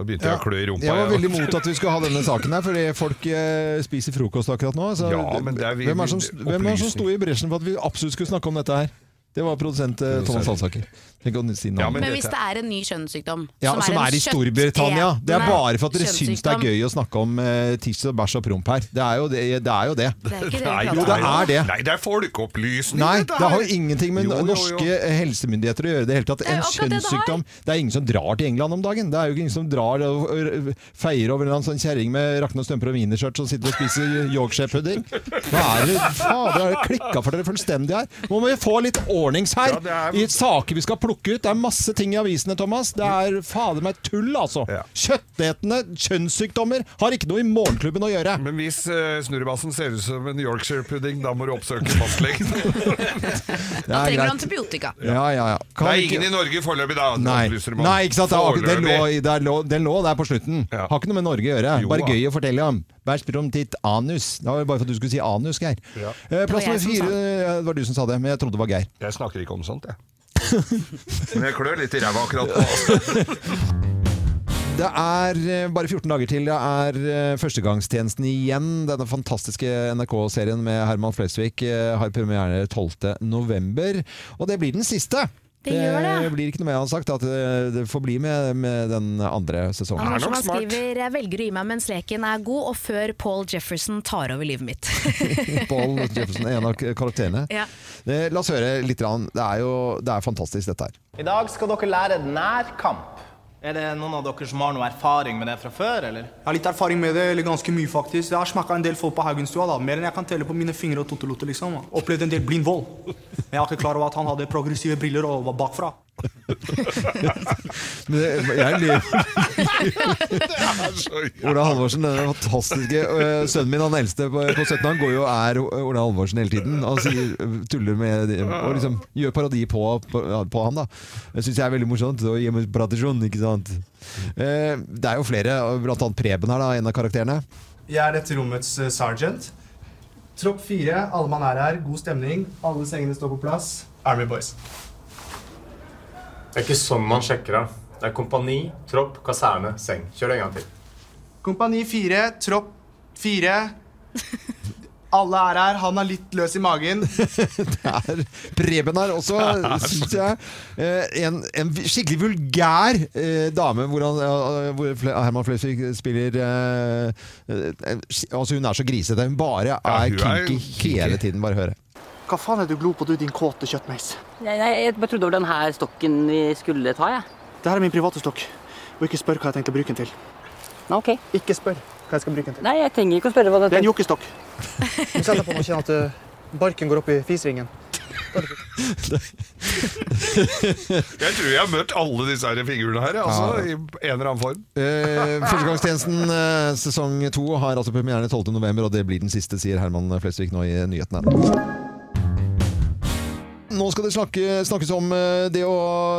Da begynte jeg å klø i rumpa.
Jeg var
jeg, da.
veldig imot at vi skulle ha denne saken her, fordi folk eh, spiser frokost akkurat nå. Så
Ja, men det er vi-
hvem er det som,
opplysning.
hvem er det som sto i bresjen for at vi absolutt skulle snakke om dette her? Det var produsent eh, Thomas Halsaker. Tenk å si
Ja,
navnet.
Men
dette-
hvis det er en ny kjønnssykdom
Ja, som er i Storbritannia. Det er bare for at dere syns det er gøy å snakke om eh, tiss og bæsj og promp her. Det er jo det. det, er jo det.
Det er ikke det
Nei,
vi
Jo, det
prater om.
er det.
Nei, det er folkeopplysning.
Nei,
dette
det har
her.
jo ingenting med
Jo, jo, jo.
norske eh, helsemyndigheter å gjøre. i Det hele tatt
er
En
jo akkurat det det
kjønnssykdom Det er ingen som drar til England om dagen. Det er jo ikke ingen som drar og og feier over en eller annen sånn kjerring med rakne og strømper og wienerskjørt som sitter og spiser yorkshire-pudding. Hva er det fader, har det klikka for dere fullstendig her? Nå må vi få litt ordnings her.
Ja, det er-
I saker vi skal plukke ut. Det er masse ting i avisene, Thomas. Det er fader meg tull, altså.
Ja.
Kjøttetende kjønnssykdommer har ikke noe i Morgenklubben å gjøre.
Men hvis uh, snurrebassen ser ut som en Yorkshire-pudding, da må du oppsøke fastlegen.
Det
Da
er
trenger du
greit.
antibiotika.
Ja, ja, ja. Kan
Det er
vi ikke-
ingen i Norge foreløpig, da.
Nei.
opplyser man.
Nei, ikke sant? Det, er akkurat- den, lå,
Foreløpig.
i- der lå, den lå der på slutten.
Ja.
Har ikke noe med Norge å gjøre.
Jo,
Bare
da.
gøy å fortelle om. Bare spør om ditt anus. Det var bare for at du skulle si anus, Geir. Eh, plass
Det
nummer
var jeg som
fire
sa
ja, Det var du som sa det, men jeg trodde det var Geir.
Jeg snakker ikke om sånt, jeg. Men jeg klør litt i ræva akkurat nå.
Det er eh, bare 14 dager til det er eh, Førstegangstjenesten igjen. Denne fantastiske NRK-serien med Herman Flesvig eh, har premiere 12. november. Og det blir den siste.
Det
Eh,
gjør det.
blir ikke noe mer han har sagt. At eh, det får bli med, med den andre sesongen.
Ah.
Han
Er nok
han
smart.
skriver Jeg velger å gi meg mens leken er god, og før Paul Jefferson tar over livet mitt.
Paul Jefferson er en av karakterene.
Ja.
Eh, La oss høre litt. grann. Det er jo det er fantastisk, dette her.
I dag skal dere lære nærkamp. Er det noen av dere som har noe erfaring med det fra før, eller?
Jeg har litt erfaring med det, eller ganske mye faktisk. Jeg har smakka en del folk på Haugenstua, da. Mer enn jeg kan telle på mine fingre og totelotter, liksom. Opplevd en del blind vold. Men jeg var ikke klar over at han hadde progressive briller og var bakfra.
Men det- jeg ler.
Så, ja.
Ola Halvorsen, den fantastiske øh, sønnen min, han eldste på, på 17, han går jo og er øh, Ola Halvorsen hele tiden. Han sier, øh, tuller med de- og liksom gjør parodi på, på, ja, på han, da. Det syns jeg er veldig morsomt. Og gir meg tradisjon, ikke sant. Eh, det er jo flere, og blant annet Preben her, da, en av karakterene.
Jeg er dette rommets eh, sergeant. Tropp fire. Alle mann er her. God stemning. Alle sengene står på plass. Army boys.
Det er ikke sånn man sjekker av. Det er kompani, tropp, kaserne, seng. Kjør det en gang til.
Kompani fire. Tropp fire. Alle er her. Han er litt løs i magen.
Det er Preben her også, syns jeg. Eh, en, en skikkelig vulgær eh, dame, hvor, han, eh, hvor Fle- Herman Flesvig spiller eh, eh, Altså, hun er så grisete. Hun bare
Ja,
er
hun er
kinky hele tiden. Bare høre.
Hva faen er du glo på, du, din kåte kjøttmeis?
Nei, nei, jeg bare trodde det var den her stokken vi skulle ta, jeg.
Dette er min private stokk. Og ikke spør hva jeg tenkte å bruke den til.
Nei, ok.
Ikke spør hva jeg skal bruke den til.
Nei, jeg trenger ikke å spørre hva det
Det er en jokkestokk. Du setter på den og kjenner at eh, barken går opp i fisringen.
Jeg tror jeg har møtt alle disse her figurene her, altså, i en eller annen form.
Eh, Førstegangstjenesten eh, sesong to har altså premieren 12. november, og det blir den siste, sier Herman Flesvig nå i nyhetene. Nå skal det snakke, snakkes om eh, det å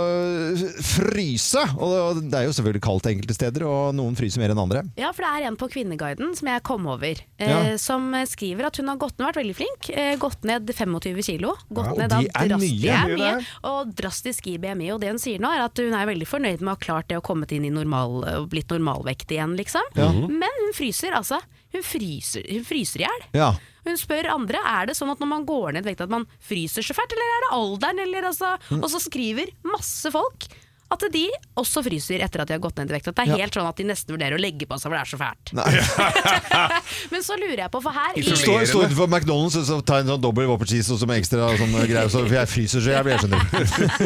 eh, fryse. Og det- det er jo selvfølgelig kaldt enkelte steder, og noen fryser mer enn andre.
Ja, for det er en på Kvinneguiden som jeg kom over, eh,
Ja.
som skriver at hun har gått ned, vært veldig flink, eh, gått ned 25 kilo. Gått
og
ned da
det er
drast-
mye.
det er
Mye,
mye, og drastisk i BMI. Og det hun sier nå, er at hun er veldig fornøyd med å ha klart det å kommet inn i normal, og blitt normalvekt igjen, liksom. Men hun fryser, altså. Hun fryser, hun fryser i hjel.
Ja.
Hun spør andre er det sånn at når man går ned i vekt at man fryser så fælt, eller er det alderen? Eller altså,
Mm.
Og så skriver masse folk at de også fryser etter at de har gått ned i vekt. At det er
Ja.
helt sånn at de nesten vurderer å legge på seg for det er så fælt.
Nei.
Men så lurer jeg på, for her
Du
i
står, står utenfor McDonald's og så tar en sånn dobbel whopper cheese og sånn ekstra og sånn greier, så for jeg fryser så jeg blir skjønner.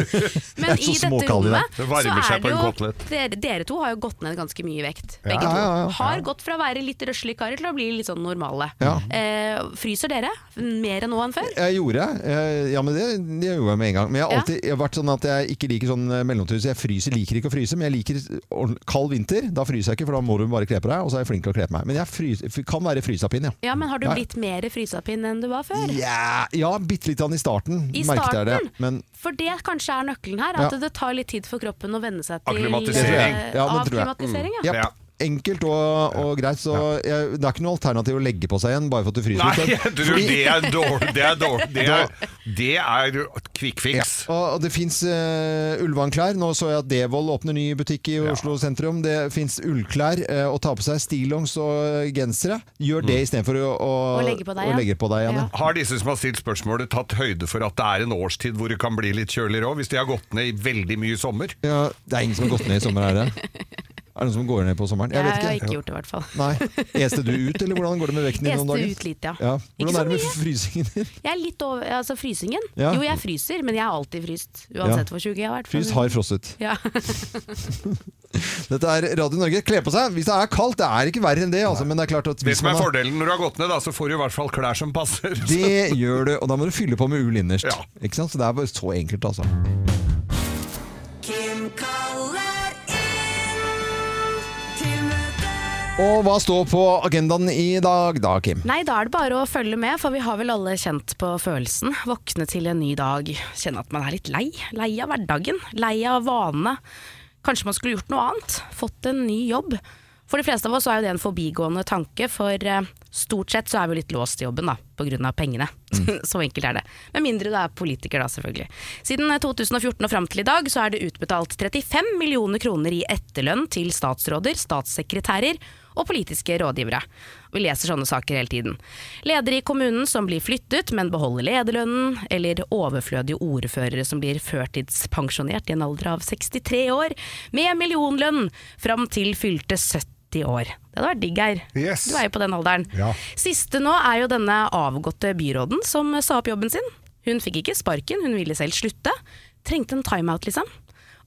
Det
Men
er så
i dette
småkald i dag.
rommet
Det
så
varmer seg
er
på
det
en
jo
kotelett.
dere, dere to har jo gått ned ganske mye i vekt. Begge
Ja, ja, ja.
to. Har gått fra å være litt røslige karer til å bli litt sånn normale.
Ja.
Eh, fryser dere mer nå enn før?
Jeg gjorde eh, Ja, men det, det gjorde jeg med en gang. Men jeg har
Ja.
alltid jeg har vært sånn at jeg ikke liker sånn eh, mellomtur, så jeg fryser, liker ikke å fryse. Men jeg liker ordn- kald vinter. Da fryser jeg ikke, for da må du bare kle på deg. Og så er jeg flink til å kle på meg. Men jeg frys- kan være frysepinn, ja.
Ja, men har du
Ja.
blitt mer frysepinn enn du var før?
Ja, ja bitte litt i starten.
I
merket jeg det.
starten?
Men
For det kanskje er nøkkelen her, at
Ja.
det tar litt tid for kroppen å venne seg til
Akklimatisering.
eh,
Ja, det tror jeg. Mm.
Avklimatisering,
ja,
ja.
Ja.
enkelt og, og greit. Så jeg, det er ikke noe alternativ å legge på seg igjen bare for at du fryser.
Nei,
litt,
jeg tror
fordi-
det er dårlig. Det er dårlig. Det er, det er quick fix.
Ja. Og, og det fins uh, ullvannklær. Nå så jeg at Devold åpner ny butikk i Oslo sentrum. Det fins ullklær eh, å ta på seg. Stillongs og gensere. Gjør
Mm.
det istedenfor å, å,
Og legge på deg
å
igjen.
legge på deg igjen. Ja.
Ja.
Har disse som har stilt spørsmålet tatt høyde for at det er en årstid hvor det kan bli litt kjøligere òg, hvis de har gått ned i veldig mye sommer?
Ja, det er ingen som har gått ned i sommer, er det? Er det noen som går ned på sommeren? Jeg vet ikke.
har ikke gjort det, i hvert fall.
Nei. Este du ut, eller hvordan går det med vekten din om
Este
dagen?
ut litt, ja. Ikke
Hvordan
så
er det med
mye.
frysingen din?
Jeg er litt over altså frysingen.
Ja.
Jo, jeg fryser, men jeg har alltid fryst. Uansett
Ja.
hvor tjukk jeg har vært.
Frys har frosset.
Ja.
Dette er Radio Norge. Kle på seg hvis det er kaldt. Det er ikke verre enn det, altså. Men det er klart at
Det
hvis
som er
man har-
fordelen når du har gått ned, da, så får du i hvert fall klær som passer.
Det gjør det, og da må du fylle på med ull innerst. Ikke sant? Så det er bare så enkelt, altså.
Kim kaller inn til møte.
Og hva står på agendaen i dag da, Kim?
Nei, da er det bare å følge med, for vi har vel alle kjent på følelsen. Våkne til en ny dag, kjenne at man er litt lei. Lei av hverdagen, lei av vanene. Kanskje man skulle gjort noe annet, fått en ny jobb. For de fleste av oss så er jo det en forbigående tanke, for eh, stort sett så er vi litt låst i jobben da, pga. pengene. så enkelt er det. Med mindre du er politiker da, selvfølgelig. Siden 2014 og fram til i dag så er det utbetalt 35 millioner kroner i etterlønn til statsråder, statssekretærer og politiske rådgivere. Vi leser sånne saker hele tiden. Ledere i kommunen som blir flyttet, men beholder lederlønnen, eller overflødige ordførere som blir førtidspensjonert i en alder av 63 år, med millionlønn fram til fylte 70 år. Det hadde vært digg, Geir. Du er jo på den alderen. Siste nå er jo denne avgåtte byråden som sa opp jobben sin. Hun fikk ikke sparken, hun ville selv slutte. Trengte en timeout, liksom.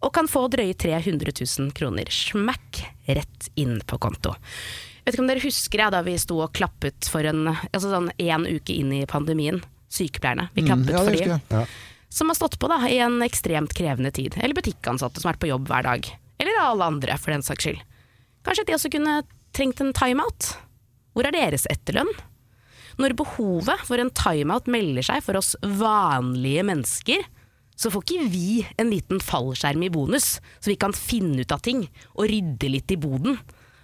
Og kan få drøye 300 000 kroner smekk rett inn på konto. Jeg vet ikke om dere husker jeg da vi sto og klappet for en altså sånn en uke inn i pandemien. Sykepleierne. Vi klappet
Mm, ja, det
for
husker
dem
jeg. Ja.
som har stått på da, i en ekstremt krevende tid. Eller butikkansatte som har vært på jobb hver dag. Eller alle andre, for den saks skyld. Kanskje de også kunne trengt en timeout? Hvor er deres etterlønn? Når behovet for en timeout melder seg for oss vanlige mennesker, så får ikke vi en liten fallskjerm i bonus, så vi kan finne ut av ting og rydde litt i boden.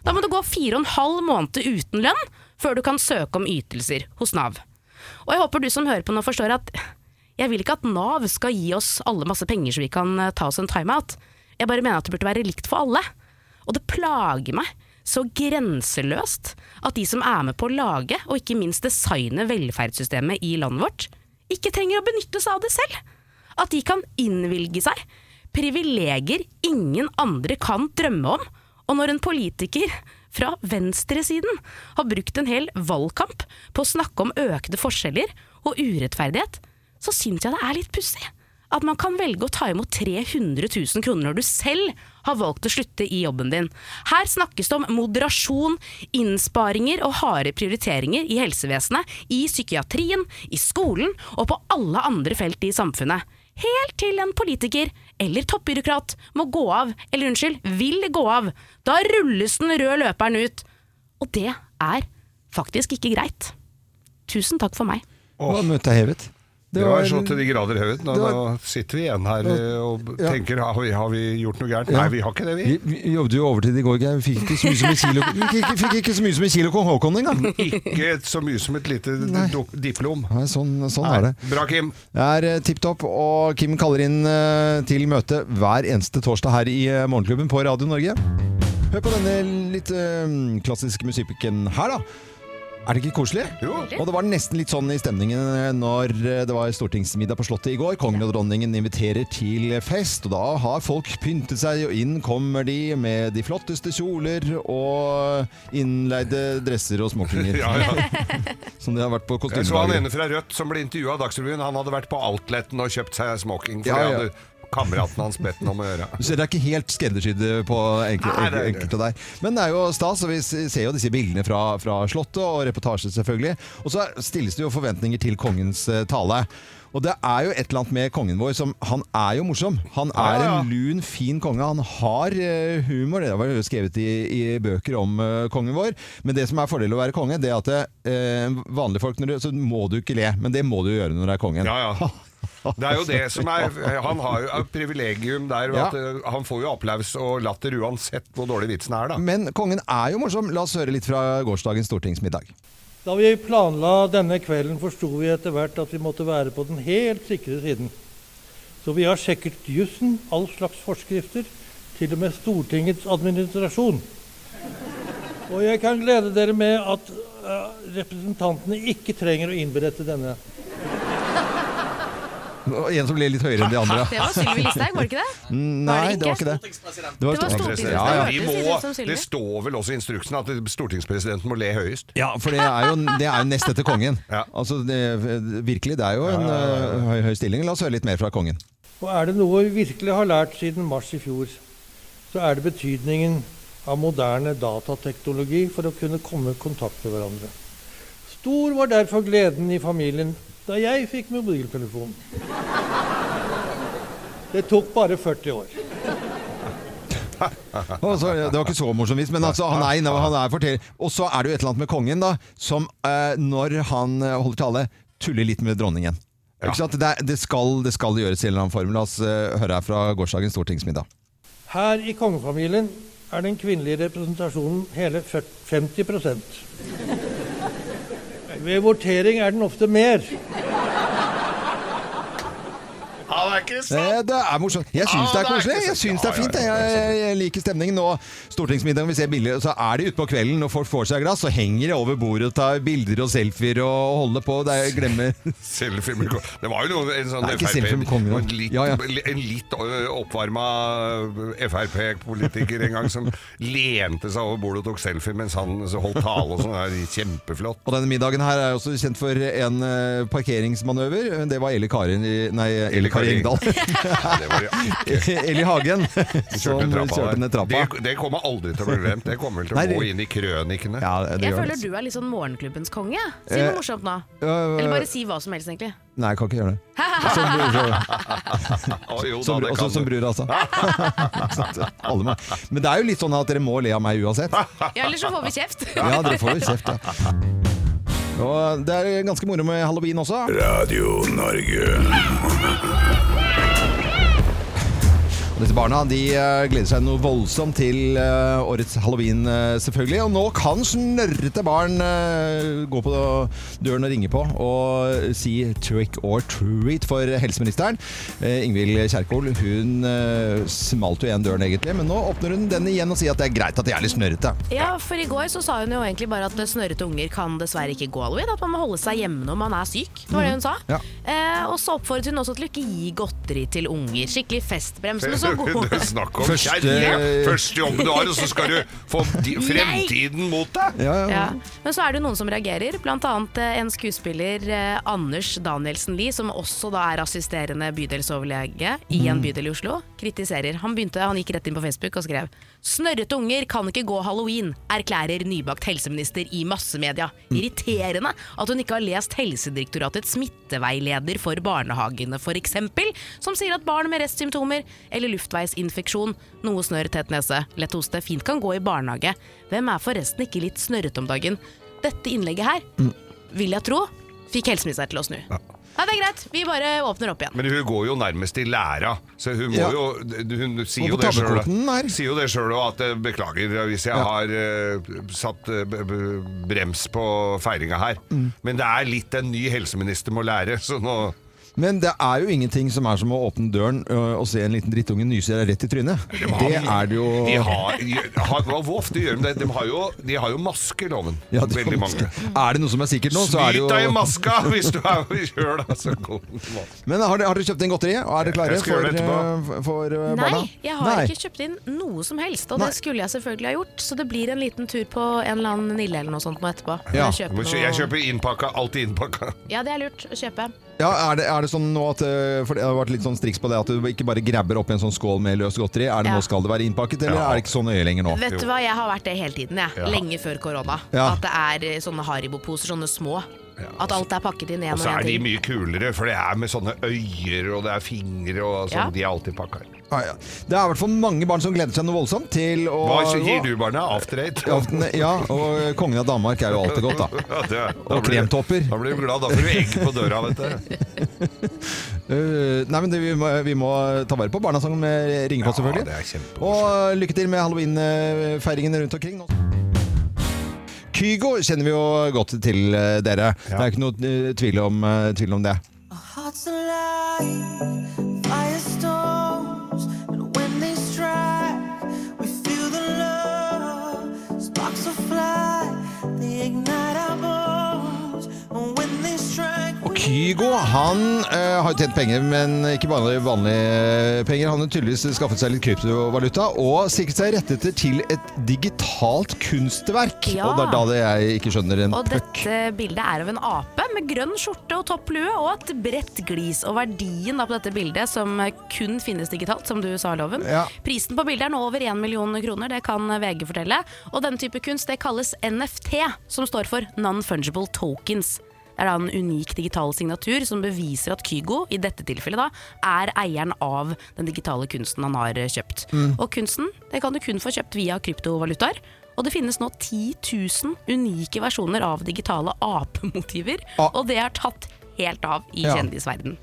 Da må det gå fire og en halv måned uten lønn før du kan søke om ytelser hos Nav. Og jeg håper du som hører på nå forstår at jeg vil ikke at Nav skal gi oss alle masse penger så vi kan eh, ta oss en timeout. Jeg bare mener at det burde være likt for alle. Og det plager meg så grenseløst at de som er med på å lage og ikke minst designe velferdssystemet i landet vårt, ikke trenger å benytte seg av det selv. At de kan innvilge seg privilegier ingen andre kan drømme om. Og når en politiker fra venstresiden har brukt en hel valgkamp på å snakke om økte forskjeller og urettferdighet, så syns jeg det er litt pussig. At man kan velge å ta imot 300 000 kroner når du selv har valgt å slutte i jobben din. Her snakkes det om moderasjon, innsparinger og harde prioriteringer i helsevesenet, i psykiatrien, i skolen og på alle andre felt i samfunnet. Helt til en politiker eller toppbyråkrat må gå av, eller unnskyld, vil gå av. Da rulles den røde løperen ut. Og det er faktisk ikke greit. Tusen takk for meg.
Åh. Møtet er hevet.
Det var så til de grader høyt. Nå,
det var-
nå sitter vi igjen her eh, og
Ja.
tenker har vi, har vi gjort noe gærent?
Ja.
Nei, vi har ikke det, vi.
Vi, vi jobbet jo overtid i går, Geir. Vi Fikk ikke så mye som en kilo, vi fikk, ikke- fikk ikke så mye som en kilo kong Haakon engang.
Ikke så mye som et lite dop- diplom.
Nei, sånn, sånn er det.
Bra, Kim.
Det er eh, tipp topp, og Kim kaller inn eh, til møte hver eneste torsdag her i eh, Morgenklubben på Radio Norge. Hør på denne litt eh, klassiske musikken her, da. Er det ikke koselig?
Jo.
Og det var nesten litt sånn i stemningen eh, når eh, det var stortingsmiddag på Slottet i går. Kongen og dronningen inviterer til fest, og da har folk pyntet seg, og inn kommer de med de flotteste kjoler og innleide dresser og smokinger.
Ja, ja.
Som de har vært på
Jeg så han ene
kostymedager.
fra Rødt som ble intervjua av Dagsrevyen. Han hadde vært på Outleten og kjøpt seg smoking. For
Ja, ja.
det hadde kameraten hans bedt ham om å gjøre.
Så det er ikke helt skreddersydd på enkel-
Nei, det er det.
enkelte der. Men det er jo stas, og vi s- ser jo disse bildene fra, fra Slottet og reportasje selvfølgelig. Og så er- stilles det jo forventninger til kongens eh, tale. Og det er jo et eller annet med kongen vår som Han er jo morsom. Han er
Ja, ja.
en lun, fin konge. Han har eh, humor. Det var jo skrevet i, i bøker om eh, kongen vår. Men det som er fordelen med å være konge, det er at eh, vanlige folk når du, Så må du ikke le, men det må du gjøre når du er kongen.
Ja, ja. Det er jo det som er eh, Han har jo et privilegium der. og
Ja.
At eh, han får jo applaus og latter uansett hvor dårlig vitsen er, da.
Men kongen er jo morsom. La oss høre litt fra gårsdagens stortingsmiddag.
Da vi planla denne kvelden, forsto vi etter hvert at vi måtte være på den helt sikre siden. Så vi har sjekket jussen, all slags forskrifter, til og med Stortingets administrasjon. Og jeg kan glede dere med at eh, representantene ikke trenger å innberette denne.
Og en som ble litt høyere enn de andre.
Det var Sylvi Listhaug, var det ikke det?
Nei, det var ikke det. Det var stortingspresident.
Ja, ja.
Det hørtes
Vi
litt ut som
må,
Sylvi.
det står vel også i instruksen at stortingspresidenten må le høyest.
Ja, for det er jo, det er jo nest etter kongen. Altså, det, virkelig, det er jo en eh, høy, høy stilling. La oss høre litt mer fra kongen.
Og er det noe vi virkelig har lært siden mars i fjor, så er det betydningen av moderne datateknologi for å kunne komme i kontakt med hverandre. Stor var derfor gleden i familien da jeg fikk mobiltelefon. Det tok bare 40 år.
Og så, det var ikke så morsomt, vis, men altså, han er, inne, og han er forteller. Og så er det jo et eller annet med kongen, da, som eh, når han eh, holder tale, tuller litt med dronningen. Ikke sant? Det, er- det, skal, det skal gjøres i en eller annen form. La oss eh, høre her fra gårsdagens stortingsmiddag.
Her i kongefamilien er den kvinnelige representasjonen hele fyr- 50 Ved votering er den ofte mer.
Ja, det er ikke
Eh, Det er morsomt. Jeg syns
Ja,
det er
Ah, det er
koselig.
ikke
Jeg
sant.
syns det er
Ja,
fint.
ja, ja,
Jeg, jeg, jeg liker stemningen. Og stortingsmiddagen, vi ser bilder, så er de ute på kvelden når folk får seg et glass, så henger de over bordet og tar bilder og selfier og holder på. Det er, jeg glemmer
Selfie med kongen. Det var jo noe, en sånn
Nei, ikke selfie med kongen, da.
En litt,
Ja, ja.
en litt eh, oppvarma Frp-politiker en gang som lente seg over bordet og tok selfie mens han så holdt tale og sånn. Det er kjempeflott.
Og denne middagen her er også kjent for en eh, parkeringsmanøver. Det var Eli Karin i, Nei, Eli Kari
Kari.
Engdahl.
Det var det.
Eli Hagen som
den trappa
kjørte
der.
ned trappa.
Det, det kommer aldri til å bli glemt. Det kommer vel til å
Nei, det-
gå inn i krønikene.
gjør
Jeg føler
det.
du er litt sånn morgenklubbens konge. Si
Eh,
noe morsomt nå.
øh,
Eller bare si hva som helst, egentlig.
Nei, jeg kan ikke gjøre det. Som bror, så.
jo da,
Som bror-
det
også
kan
som
du.
bror, altså. Ikke sant? Alle må. Men det er jo litt sånn at dere må le av meg uansett.
Ja, Eller så får vi kjeft.
Ja, dere får jo kjeft, ja. Og det er ganske moro med halloween også.
Radio Norge.
Og Disse barna de eh, gleder seg noe voldsomt til eh, årets halloween, eh, selvfølgelig. Og nå kan snørrete barn eh, gå på døren og ringe på og si 'trick or treat' for helseministeren. Eh, Ingvild Kjerkol hun eh, smalt jo igjen døren, egentlig, men nå åpner hun den igjen og sier at det er greit at de er litt snørrete.
Ja, for i går så sa hun jo egentlig bare at snørrete unger kan dessverre ikke gå halloween. At man må holde seg hjemme når man er syk. Det var det hun sa.
Ja.
Eh, og så oppfordret hun også til å ikke gi godteri til unger. Skikkelig festbremsende så god.
Det er snakk om
Første-
kjerre! Første jobben du har, og så skal du få di-
Nei.
fremtiden mot deg!
Ja. Men så er det noen som reagerer, bl.a. en skuespiller, eh, Anders Danielsen Lie, som også da er assisterende bydelsoverlege i en
Mm.
bydel i Oslo, kritiserer. Han, begynte, han gikk rett inn på Facebook og skrev Snørrete unger kan ikke gå halloween, erklærer nybakt helseminister i massemedia. Irriterende at hun ikke har lest Helsedirektoratets smitteveileder for barnehagene f.eks., som sier at barn med restsymptomer eller luftveisinfeksjon, noe snørr, tett nese, lett hoste, fint kan gå i barnehage. Hvem er forresten ikke litt snørrete om dagen? Dette innlegget her, vil jeg tro, fikk helseministeren til å snu. Nei, det er greit, vi bare åpner opp igjen.
Men hun går jo nærmest i læra, så hun må
Ja.
jo Hun sier jo
Må på
det sjøl.
tabbekoten
Sier jo det sjøl òg, at eh, beklager hvis jeg har eh, satt eh, b- b- brems på feiringa her.
Mm.
Men det er litt en ny helseminister må lære, så nå
Men det er jo ingenting som er som å åpne døren ø, og se en liten drittunge nyse deg rett i trynet. Det er det jo
De har, har, hvor ofte gjør de det? De har jo, de har jo maske, loven.
Ja, det-
Veldig mange.
Er det noe som er sikkert nå, så er det jo
Snyt deg i maska hvis du er sjøl, altså. Godt.
Men har dere, har dere kjøpt inn godteri? Og er dere klare
Jeg skal gjøre
for,
det etterpå.
eh, for eh, barna?
Nei, jeg har ikke kjøpt inn noe som helst, og
Nei.
det skulle jeg selvfølgelig ha gjort. Så det blir en liten tur på en eller annen Nille eller noe sånt nå etterpå.
Ja.
Jeg kjøper
Men
noe-
Jeg kjøper innpakka, alltid innpakka.
Ja, det er lurt å kjøpe.
Ja, er det, er det sånn nå at eh, For det har vært litt sånn striks på det at du ikke bare grabber opp i en sånn skål med løst godteri. Er det
Ja.
Nå skal det være innpakket, eller er det ikke så nøye lenger nå?
Vet du hva, jeg har vært det hele tiden, jeg.
Ja.
Lenge før korona.
Ja.
At det er eh, sånne Haribo-poser, sånne små. At alt er pakket inn
altså. Og
én og
så
én
er de
ting.
mye kulere, for det er med sånne øyer, og det er fingre og sånn.
Ja.
De er alltid pakka.
Ah, ja. Det er i hvert fall mange barn som gleder seg noe voldsomt til å
Hva gir du barna? After eight?
Ja, ja, og kongen av Danmark er jo alltid godt, da.
Ja, det er- da
Og
blir-
kremtopper.
Da blir du glad. Da får du egg på døra, vet du.
Uh, nei, men det, vi, må, vi må ta vare på barna som eh, ringer på, selvfølgelig.
det er kjempe-
og eh, lykke til med halloween-feiringen rundt omkring. nå. Kygo kjenner vi jo godt til eh, dere. Det er ikke noe eh, tvil om, eh, tvil om det.
Hearts alive, firestorms, and when they strike, we feel the love. Sparks will fly, they ignite our bones, and when they strike,
Og Kygo han eh, har jo tjent penger, men ikke bare vanlige eh, penger. Han har tydeligvis skaffet seg litt kryptovaluta og sikret seg rettigheter til et digitalt kunstverk.
Ja.
Og det er da det jeg ikke skjønner en
Og
puck.
dette bildet er av en ape med grønn skjorte og topplue og et bredt glis. Og verdien da på dette bildet, som kun finnes digitalt, som du sa, Loven
Ja.
Prisen på bildet er nå over 1 million kroner, det kan VG fortelle. Og den type kunst det kalles NFT, som står for Non-Fungible Tokens. Det er da en unik digital signatur som beviser at Kygo, i dette tilfellet da, er eieren av den digitale kunsten han har kjøpt.
Mm.
Og kunsten det kan du kun få kjøpt via kryptovalutaer. Og det finnes nå 10 000 unike versjoner av digitale apemotiver. Og det har tatt helt av i
Ah. Ja.
kjendisverden.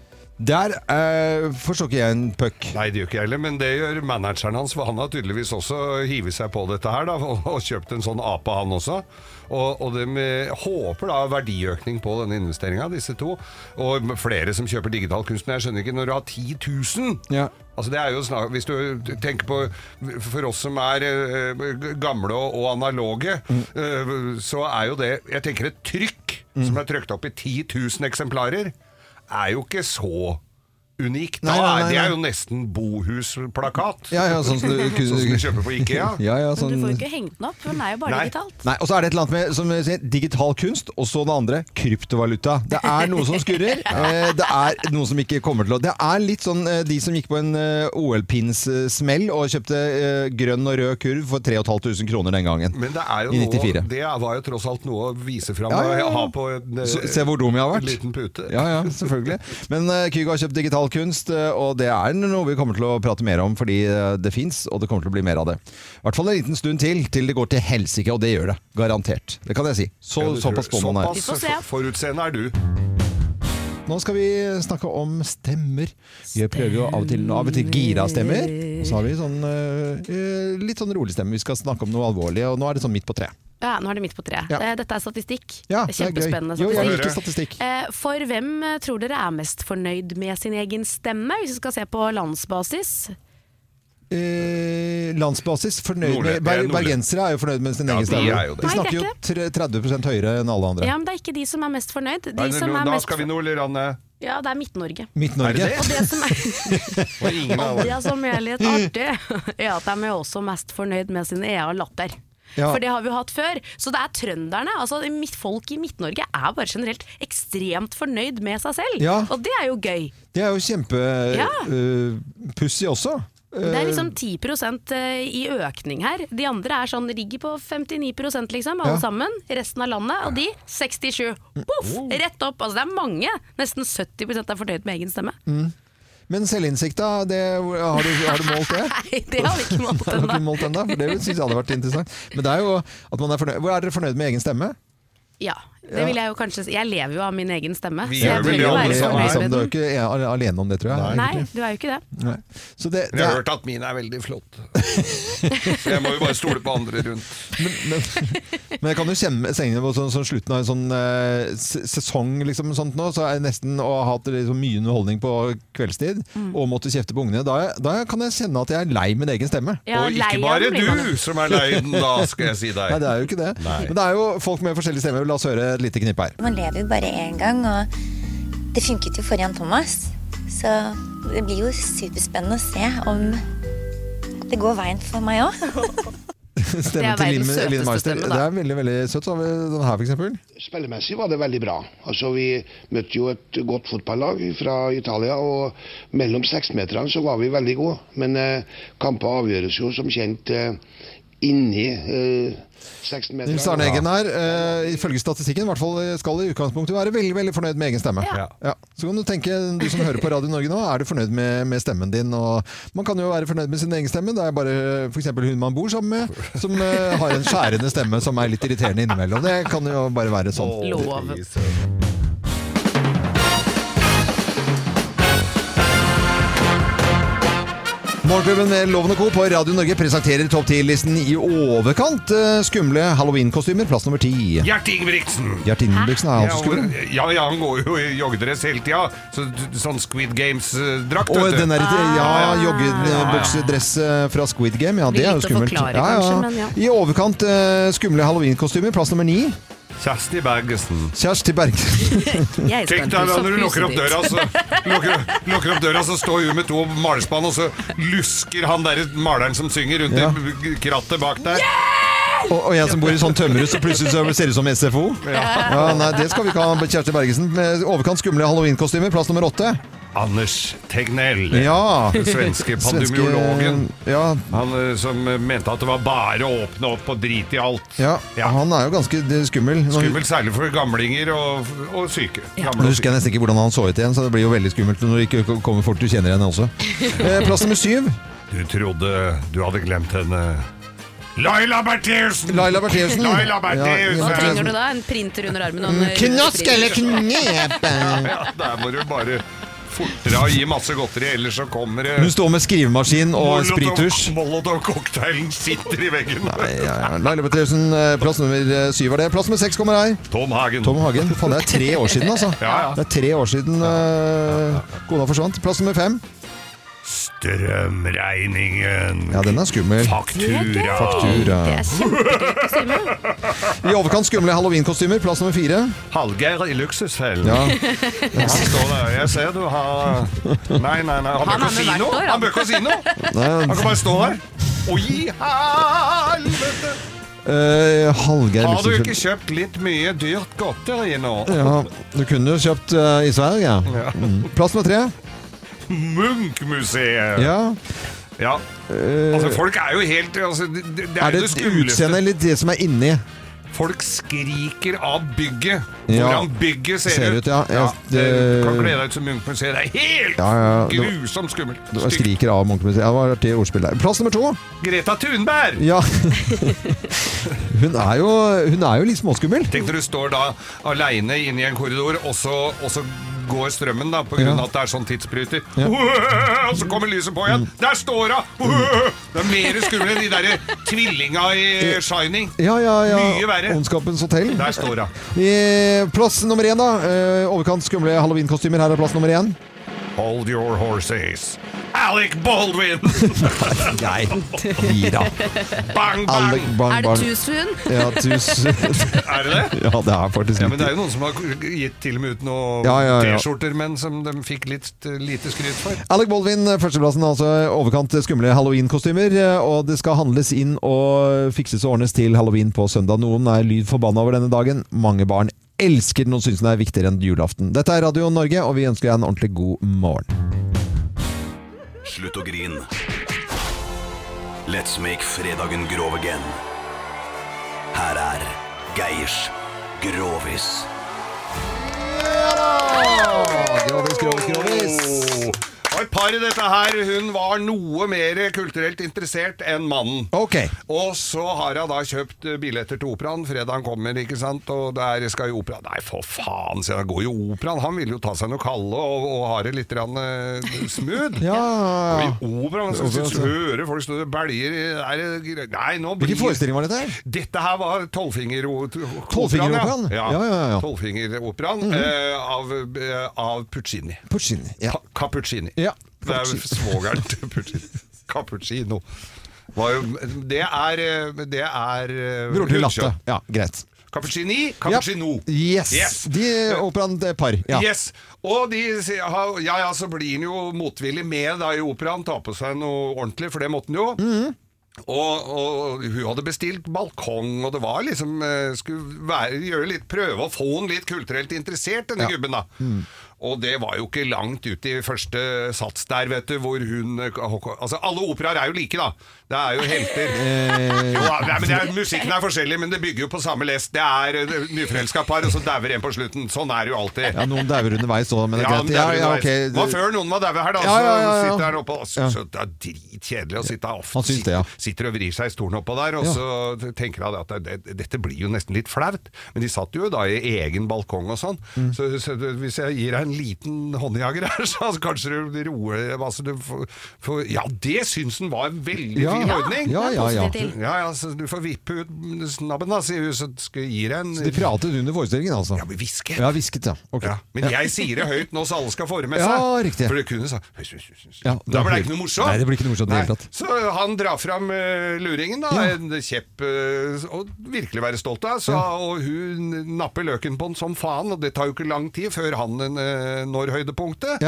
Der eh, forstår ikke jeg en puck.
Nei, det gjør ikke jeg heller, men det gjør manageren hans. For han har tydeligvis også hivet seg på dette her, da, og, og kjøpt en sånn ape, han også. Og, og de eh, håper da verdiøkning på denne investeringa, disse to. Og flere som kjøper digital kunst. Men jeg skjønner ikke, når du har 10 000 Altså det er jo snak, Hvis du tenker på For oss som er eh, gamle og, og analoge, eh, så er jo det Jeg tenker et trykk som er trykt opp i 10 000 eksemplarer, er jo ikke så unikt.
Nei, nei, nei,
Det
nei.
er jo nesten Bohus-plakat.
Ja, ja, sånn som du,
Sånn som du kjøper på Ikea.
ja, ja,
Men du får
sånn-
jo ikke hengt den opp, for den er jo bare
Nei.
digitalt.
Nei, og så er det et eller annet med som jeg sier, digital kunst, og så det andre kryptovaluta. Det er noe som skurrer. eh, Det er noe som ikke kommer til å Det er litt sånn eh, de som gikk på en eh, OL-pinssmell og kjøpte eh, grønn og rød kurv for 3500 kroner den gangen.
Men det er jo
I
noe,
94.
det var jo tross alt noe å vise fram
Ja, ja, ja.
og ha på en, eh,
Så- se hvor dum jeg har vært.
liten pute.
Ja, ja, selvfølgelig. Men eh, Kygo har kjøpt digital kunst, eh, og det er noe vi kommer til å prate mer om, fordi eh, det fins, og det kommer til å bli mer av det. I hvert fall en liten stund til, til det går til helsike, og det gjør det. Garantert. Det kan jeg si. Så,
Ja, det tror jeg.
såpass spåmann er jeg.
Såpass for- forutseende er du.
Nå skal vi snakke om stemmer. Vi prøver jo av og til, av og til gira stemmer. Og så har vi sånn, eh, litt sånn rolig stemme. Vi skal snakke om noe alvorlig, og nå er det sånn midt på treet.
Ja, nå er det midt på tre.
Ja.
Eh, Dette er statistikk.
Ja,
Det er
det er gøy.
Kjempespennende
Jo, jeg
statistikk.
liker statistikk.
Eh, For hvem eh, tror dere er mest fornøyd med sin egen stemme, hvis vi skal se på landsbasis?
Eh, landsbasis, fornøyd
Nordlig-
med, ber,
nordlig.
bergensere er jo fornøyd med sin
Ja,
egen
de
stemme.
er jo
De
det.
Nei, det er
snakker jo tre- 30 høyere enn alle andre.
Ja, men det er ikke de som er mest fornøyd. De
Nei,
som
nå-
er
da
mest
skal vi nordlig rande.
Ja, det er Midt-Norge.
Midt-Norge.
Og det som er
Og ingen av
Det som er litt artig, er at de er også mest fornøyd med sin egen latter.
Ja.
For det har vi jo hatt før. Så det er trønderne. Altså, mitt- folk i Midt-Norge er bare generelt ekstremt fornøyd med seg selv.
Ja.
Og det er jo gøy.
Det er jo
Ja.
kjempepussig også.
Det er liksom
Eh,
10 i økning her. De andre er sånn rigger på 59 liksom, alle
Ja.
sammen. Resten av landet. Og de 67. Poff!
Oh.
Rett opp. Altså det er mange. Nesten 70 er fornøyd med egen stemme.
mm. Men selvinnsikt, da? Det, har, du, har du målt det?
Nei, det har vi ikke målt
Har du ikke målt ennå? For det syns jeg hadde vært interessant. Men det er jo at man er fornøyd Hvor er dere fornøyd med egen stemme?
Ja, det
Ja.
vil jeg jo kanskje si. Jeg lever jo av min egen stemme.
Vi
så jeg
gjør
bør
vel
jo
det,
være
alle sammen.
fornøyd
Alle sammen.
med
Du er
den.
jo ikke al- alene om det, tror jeg.
Nei, du er jo ikke det.
Nei. Så det,
Jeg
det
har
er,
hørt at min er veldig flott. Så jeg må jo bare stole på andre rundt.
men jeg kan jo kjenne kjenne på sånn, sånn slutten av en sånn eh, se- sesong liksom, sånt nå, så er jeg nesten å ha hatt liksom, mye underholdning på kveldstid
Mm.
og måtte kjefte på ungene. Da, da kan jeg kjenne at jeg er lei min egen stemme.
Ja, Og ikke lei av den bare blir man. du som er lei den, da, skal jeg si deg.
Nei, det er jo ikke det. Men det er jo folk med forskjellige stemmer. La oss høre et lite knippe her.
Man lever jo bare én gang, og det funket jo for Jan Thomas. Så det blir jo superspennende å se om det går veien for meg òg.
Stemmen
Det er
til
verdens
Line- Line
søteste
Meister.
stemme, da.
Det er veldig veldig søtt. Så har vi den her, for eksempel.
Spillemessig var det veldig bra. Altså, vi møtte jo et godt fotballag fra Italia, og mellom seksmeterne så var vi veldig gode. Men eh, kamper avgjøres jo som kjent eh, inni eh, seksmeterne.
Nils Arne Eggen her, eh, ifølge statistikken, i hvert fall eh, skal i utgangspunktet være veldig veldig fornøyd med egen stemme.
Ja.
Ja. Så kan du tenke, du som hører på Radio Norge nå, er du fornøyd med, med stemmen din? Og man kan jo være fornøyd med sin egen stemme. Det er bare f.eks. hun man bor sammen med, som eh, har en skjærende stemme som er litt irriterende innimellom. Det kan jo bare være sånn.
Lov.
Morgenklubben med Loven og Co. på Radio Norge presenterer topp 10-listen i overkant eh, skumle halloween-kostymer, plass nummer ti.
Gjert Ingebrigtsen!
Gjert Ingebrigtsen er
Ja,
altså skummel.
og- ja, ja, han går jo i joggedress hele tida. Så, sånn Squid Games-drakt.
Og
vet du.
den der, Ah, ja,
Ja, ja.
joggebuksedress eh, fra Squid Game, ja,
Blir
det er jo
litt å
skummelt.
forklare,
Ja, ja.
kanskje, men ja.
I overkant eh, skumle halloweenkostymer, plass nummer ni.
Kjersti Bergesen.
Kjersti Bergesen.
Jeg Tenk deg da når du lukker opp døra, så lukker, lukker opp døra, så står hun med to malespann, og så lusker han der maleren som synger, rundt
Ja.
i krattet bak der.
Og, og jeg som bor i sånn tømmerhus, så plutselig så ser det ut som SFO. Ja.
Ja.
nei, Det skal vi ikke ha, Kjersti Bergesen. Med overkant skumle halloweenkostymer, plass nummer åtte.
Anders Tegnell,
Ja.
den svenske pandemiologen.
Svenske- ja.
Han eh, som eh, mente at det var bare å åpne opp og drite i alt.
Ja, Han er jo ganske eh, skummel. Nå-
Skummelt særlig for gamlinger og, og syke.
Nå
Gamle og syke.
husker jeg nesten ikke hvordan han så ut igjen, så det blir jo veldig skummelt når det ikke kommer folk du kjenner igjen også. Eh, Plass nummer syv.
Du trodde du hadde glemt henne. Laila Bertheussen!
Laila Bertheussen.
Laila Bertheussen.
Hva trenger du da? En printer under armen? og en
Mm, knask sånn- eller knep?
Ja, ja, der må du bare fortere og gi masse godteri, ellers så kommer det
Hun står med skrivemaskin og
Molotov-
sprittusj.
Molotov-cocktailen sitter i veggen.
Ja, ja. Laila Bertheussen, eh, plass nummer eh, syv var det. Plass nummer seks kommer her.
Tom Hagen.
Tom Hagen. Faen, det er tre år siden, altså.
Ja, ja.
Det er tre år siden eh, kona forsvant. Plass nummer fem.
Strømregningen.
Ja, den er skummel.
Faktura.
Faktura. I overkant skumle halloweenkostymer. Plass nummer fire.
Hallgeir i luksusfellen.
Ja.
Han står der. Jeg ser du har Nei, nei, nei. Han bør
Han er
ikke
med
si
hvert
noe!
år, han.
Han bør ikke si noe! Han kan bare stå der. Og gi helvete!
Eh, Hallgeir
Har du ikke
Luksusfjell.
kjøpt litt mye dyrt godteri nå?
Ja, du kunne jo kjøpt eh, i Sverige. Ja. Mm. Plass nummer tre.
Munch-museet.
Ja.
Ja.
Eh,
Altså, folk er jo helt altså, det, det
er
er, jo
det
det
et
skumleste.
utseende eller det som er inni?
Folk skriker av bygget.
Ja.
Hvordan bygget ser,
Ser ut, ja. Jeg-
det-
det-
kan glede deg til Munch-museet. Det er helt
Ja, ja, det var-
grusomt skummelt.
Det var
Stygt.
skriker av Munch-museet. Ja, det var artig ordspill der. Plass nummer to.
Greta Thunberg!
Ja. Hun er jo, hun er jo litt småskummel.
Tenk når du står da aleine inne i en korridor, og så, og så går strømmen da, på grunn av
Ja.
at det er sånn tidsbryter.
Ja. Mm.
Og så kommer lyset på igjen. Der står hun! Uhuh! Det er mer skummelt enn de derre tvillinga i Shining.
Ja, ja, ja.
Mye verre.
Ondskapens hotell.
Der står hun.
I plass nummer én, da. Eh, Overkant skumle halloweenkostymer. Her er plass nummer én.
Hold your horses. Alec Baldwin!
Nei, gi da.
Bang, bang!
Alec, bang,
Er det
bang.
tusen?
Ja, tusen.
Er det det?
Ja, det er faktisk
Ja, men
riktig.
det er jo noen som har gitt til og med ut noen
Ja, ja, ja.
T-skjorter, men som de fikk litt eh, lite skryt for.
Alec Baldwin, førsteplassen, altså overkant skumle halloweenkostymer. eh, Og det skal handles inn og fikses og ordnes til halloween på søndag. Noen er lyd forbanna over denne dagen. Mange barn elsker den og syns den er viktigere enn julaften. Dette er Radio Norge, og vi ønsker deg en ordentlig god morgen.
Slutt å grin. Let's make fredagen grov again. Her er Geirs Grovis.
Grovis, grovis, grovis.
Og et par i dette her, hun var noe mer kulturelt interessert enn mannen.
Ok.
Og så har hun da kjøpt eh, billetter til operaen. Fredagen kommer, ikke sant, og der skal jo opera Nei, for faen, sier han. Går jo operaen. Han vil jo ta seg noe kalde og, og ha det litt grann, eh, smooth.
Ja.
Og I operaen så
Operaen,
sitter
så-
du og hører folk stå og belger i- er det gre- Nei, nå blir
Hvilken forestilling var dette her?
Dette her var Tolvfingeroperaen.
Tolvfingeroperaen?
Ja.
Ja, ja, Mhm. ja.
Tolvfingeroperaen eh, av, eh, av Puccini.
Puccini. Ja.
Pa- Cappuccini.
Ja,
Det er jo svogeren til Puccini. Cappuccino. Var jo, det er eh, Det er eh,
Bror til
Rundkjøp.
Latte. Ja, greit.
Cappuccini, cappuccino.
Yes.
Yes.
De operaen det er par. Ja.
Yes. Og de sier ha- Ja ja, så blir han jo motvillig med da i operaen. Ta på seg noe ordentlig, for det måtte han jo. Og, og hun hadde bestilt balkong, og det var liksom eh, Skulle være, gjøre litt prøve å få han litt kulturelt interessert, denne gubben, da.
Mm.
Og det var jo ikke langt ut i første sats der, vet du, hvor hun Altså, alle operaer er jo like, da. Det er jo helter.
Eh.
Jo, nei, men det er, musikken er forskjellig, men det bygger jo på samme lest. Det er eh, nyforelska par, og så dauer en på slutten. Sånn er det jo alltid.
Ja, noen dauer underveis òg, men det er
Ja,
greit.
men det
Ja,
er
ja,
underveis.
ok.
Det var før noen var daue her, da.
Ja, ja, ja, ja.
Så sitter han oppå og så,
Ja.
så Det er dritkjedelig å sitte her
Han
ofte.
syns det, ja.
Sitter og vrir seg i stolen oppå der, og
Ja.
så tenker han at det, det,
Mm.
dette blir jo nesten litt flaut. Men de satt jo da i egen balkong og sånn. Så, så hvis jeg gir deg en en liten håndjager her, så altså, kanskje du roer altså, du får, får, Ja, det syns han var en veldig
Ja.
fin ordning!
Ja, ja, ja. Det er positivt.
ja, ja så du får vippe ut snabben, da, sier hun, så skal jeg gi deg en
Så de pratet under forestillingen, altså? Ja,
men hvisket.
Ja, hvisket, ja. Ok.
Ja, men jeg sier det høyt nå, så alle skal forme seg.
Ja, riktig.
For det kunne sa
Ja,
Da ble det ikke noe morsomt.
Nei, det blir ikke noe morsomt i det
Nei.
hele tatt.
Så han drar fram eh, luringen, da,
Ja.
en kjepp, eh, og virkelig være stolt av. Så, Og hun napper løken på den som faen, og det tar jo ikke lang tid før han eh, når høydepunktet.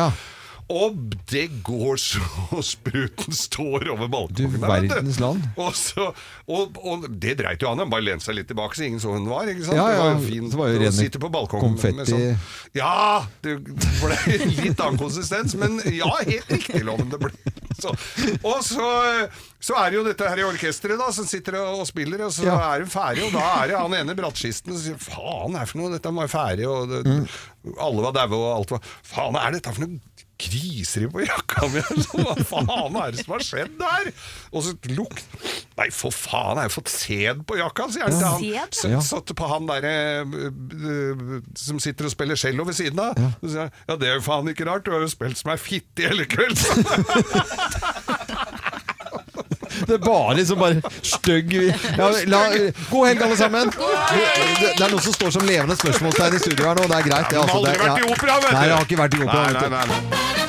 Og det går så spruten står over balkongen. der, vet
verdens land.
Og, så, og, og det dreit jo han i. Han bare lente seg litt tilbake, så ingen så hun var. ikke sant?
Ja,
det var
ja,
jo fint
det var jo
å
ren
sitte på balkongen
konfetti.
med sånn ja! Det ble litt annen konsistens, men ja, helt riktig, Loven. Det ble. Så, og så, så er det jo dette her i orkesteret, da, som sitter og og spiller, og så
Ja.
er hun ferdig, og da er det han ene brattskisten som sier 'faen er det for noe, dette var ferdig', og det, alle var daue, og alt var 'faen er dette for noe griser i på jakka mi', og så, hva faen er det som har skjedd der? Og så lukt Nei, for faen, jeg har fått sæd på jakka, sier han til han.
Sæd?
Så,
Ja.
satt på han derre øh, øh, som sitter og spiller cello ved siden av. Så sier han ja, det er jo faen ikke rart, du har jo spilt som ei fitte i hele kveld.
Det er bare liksom bare stygg ja, la, God helg, alle sammen! Det, det er noen som står som levende spørsmålstegn i studio her nå, det er greit.
Ja, men
altså,
har aldri
det-
vært i opera, vet du.
Nei, jeg har ikke vært i opera.
Nei,
vet du.
nei, nei, nei.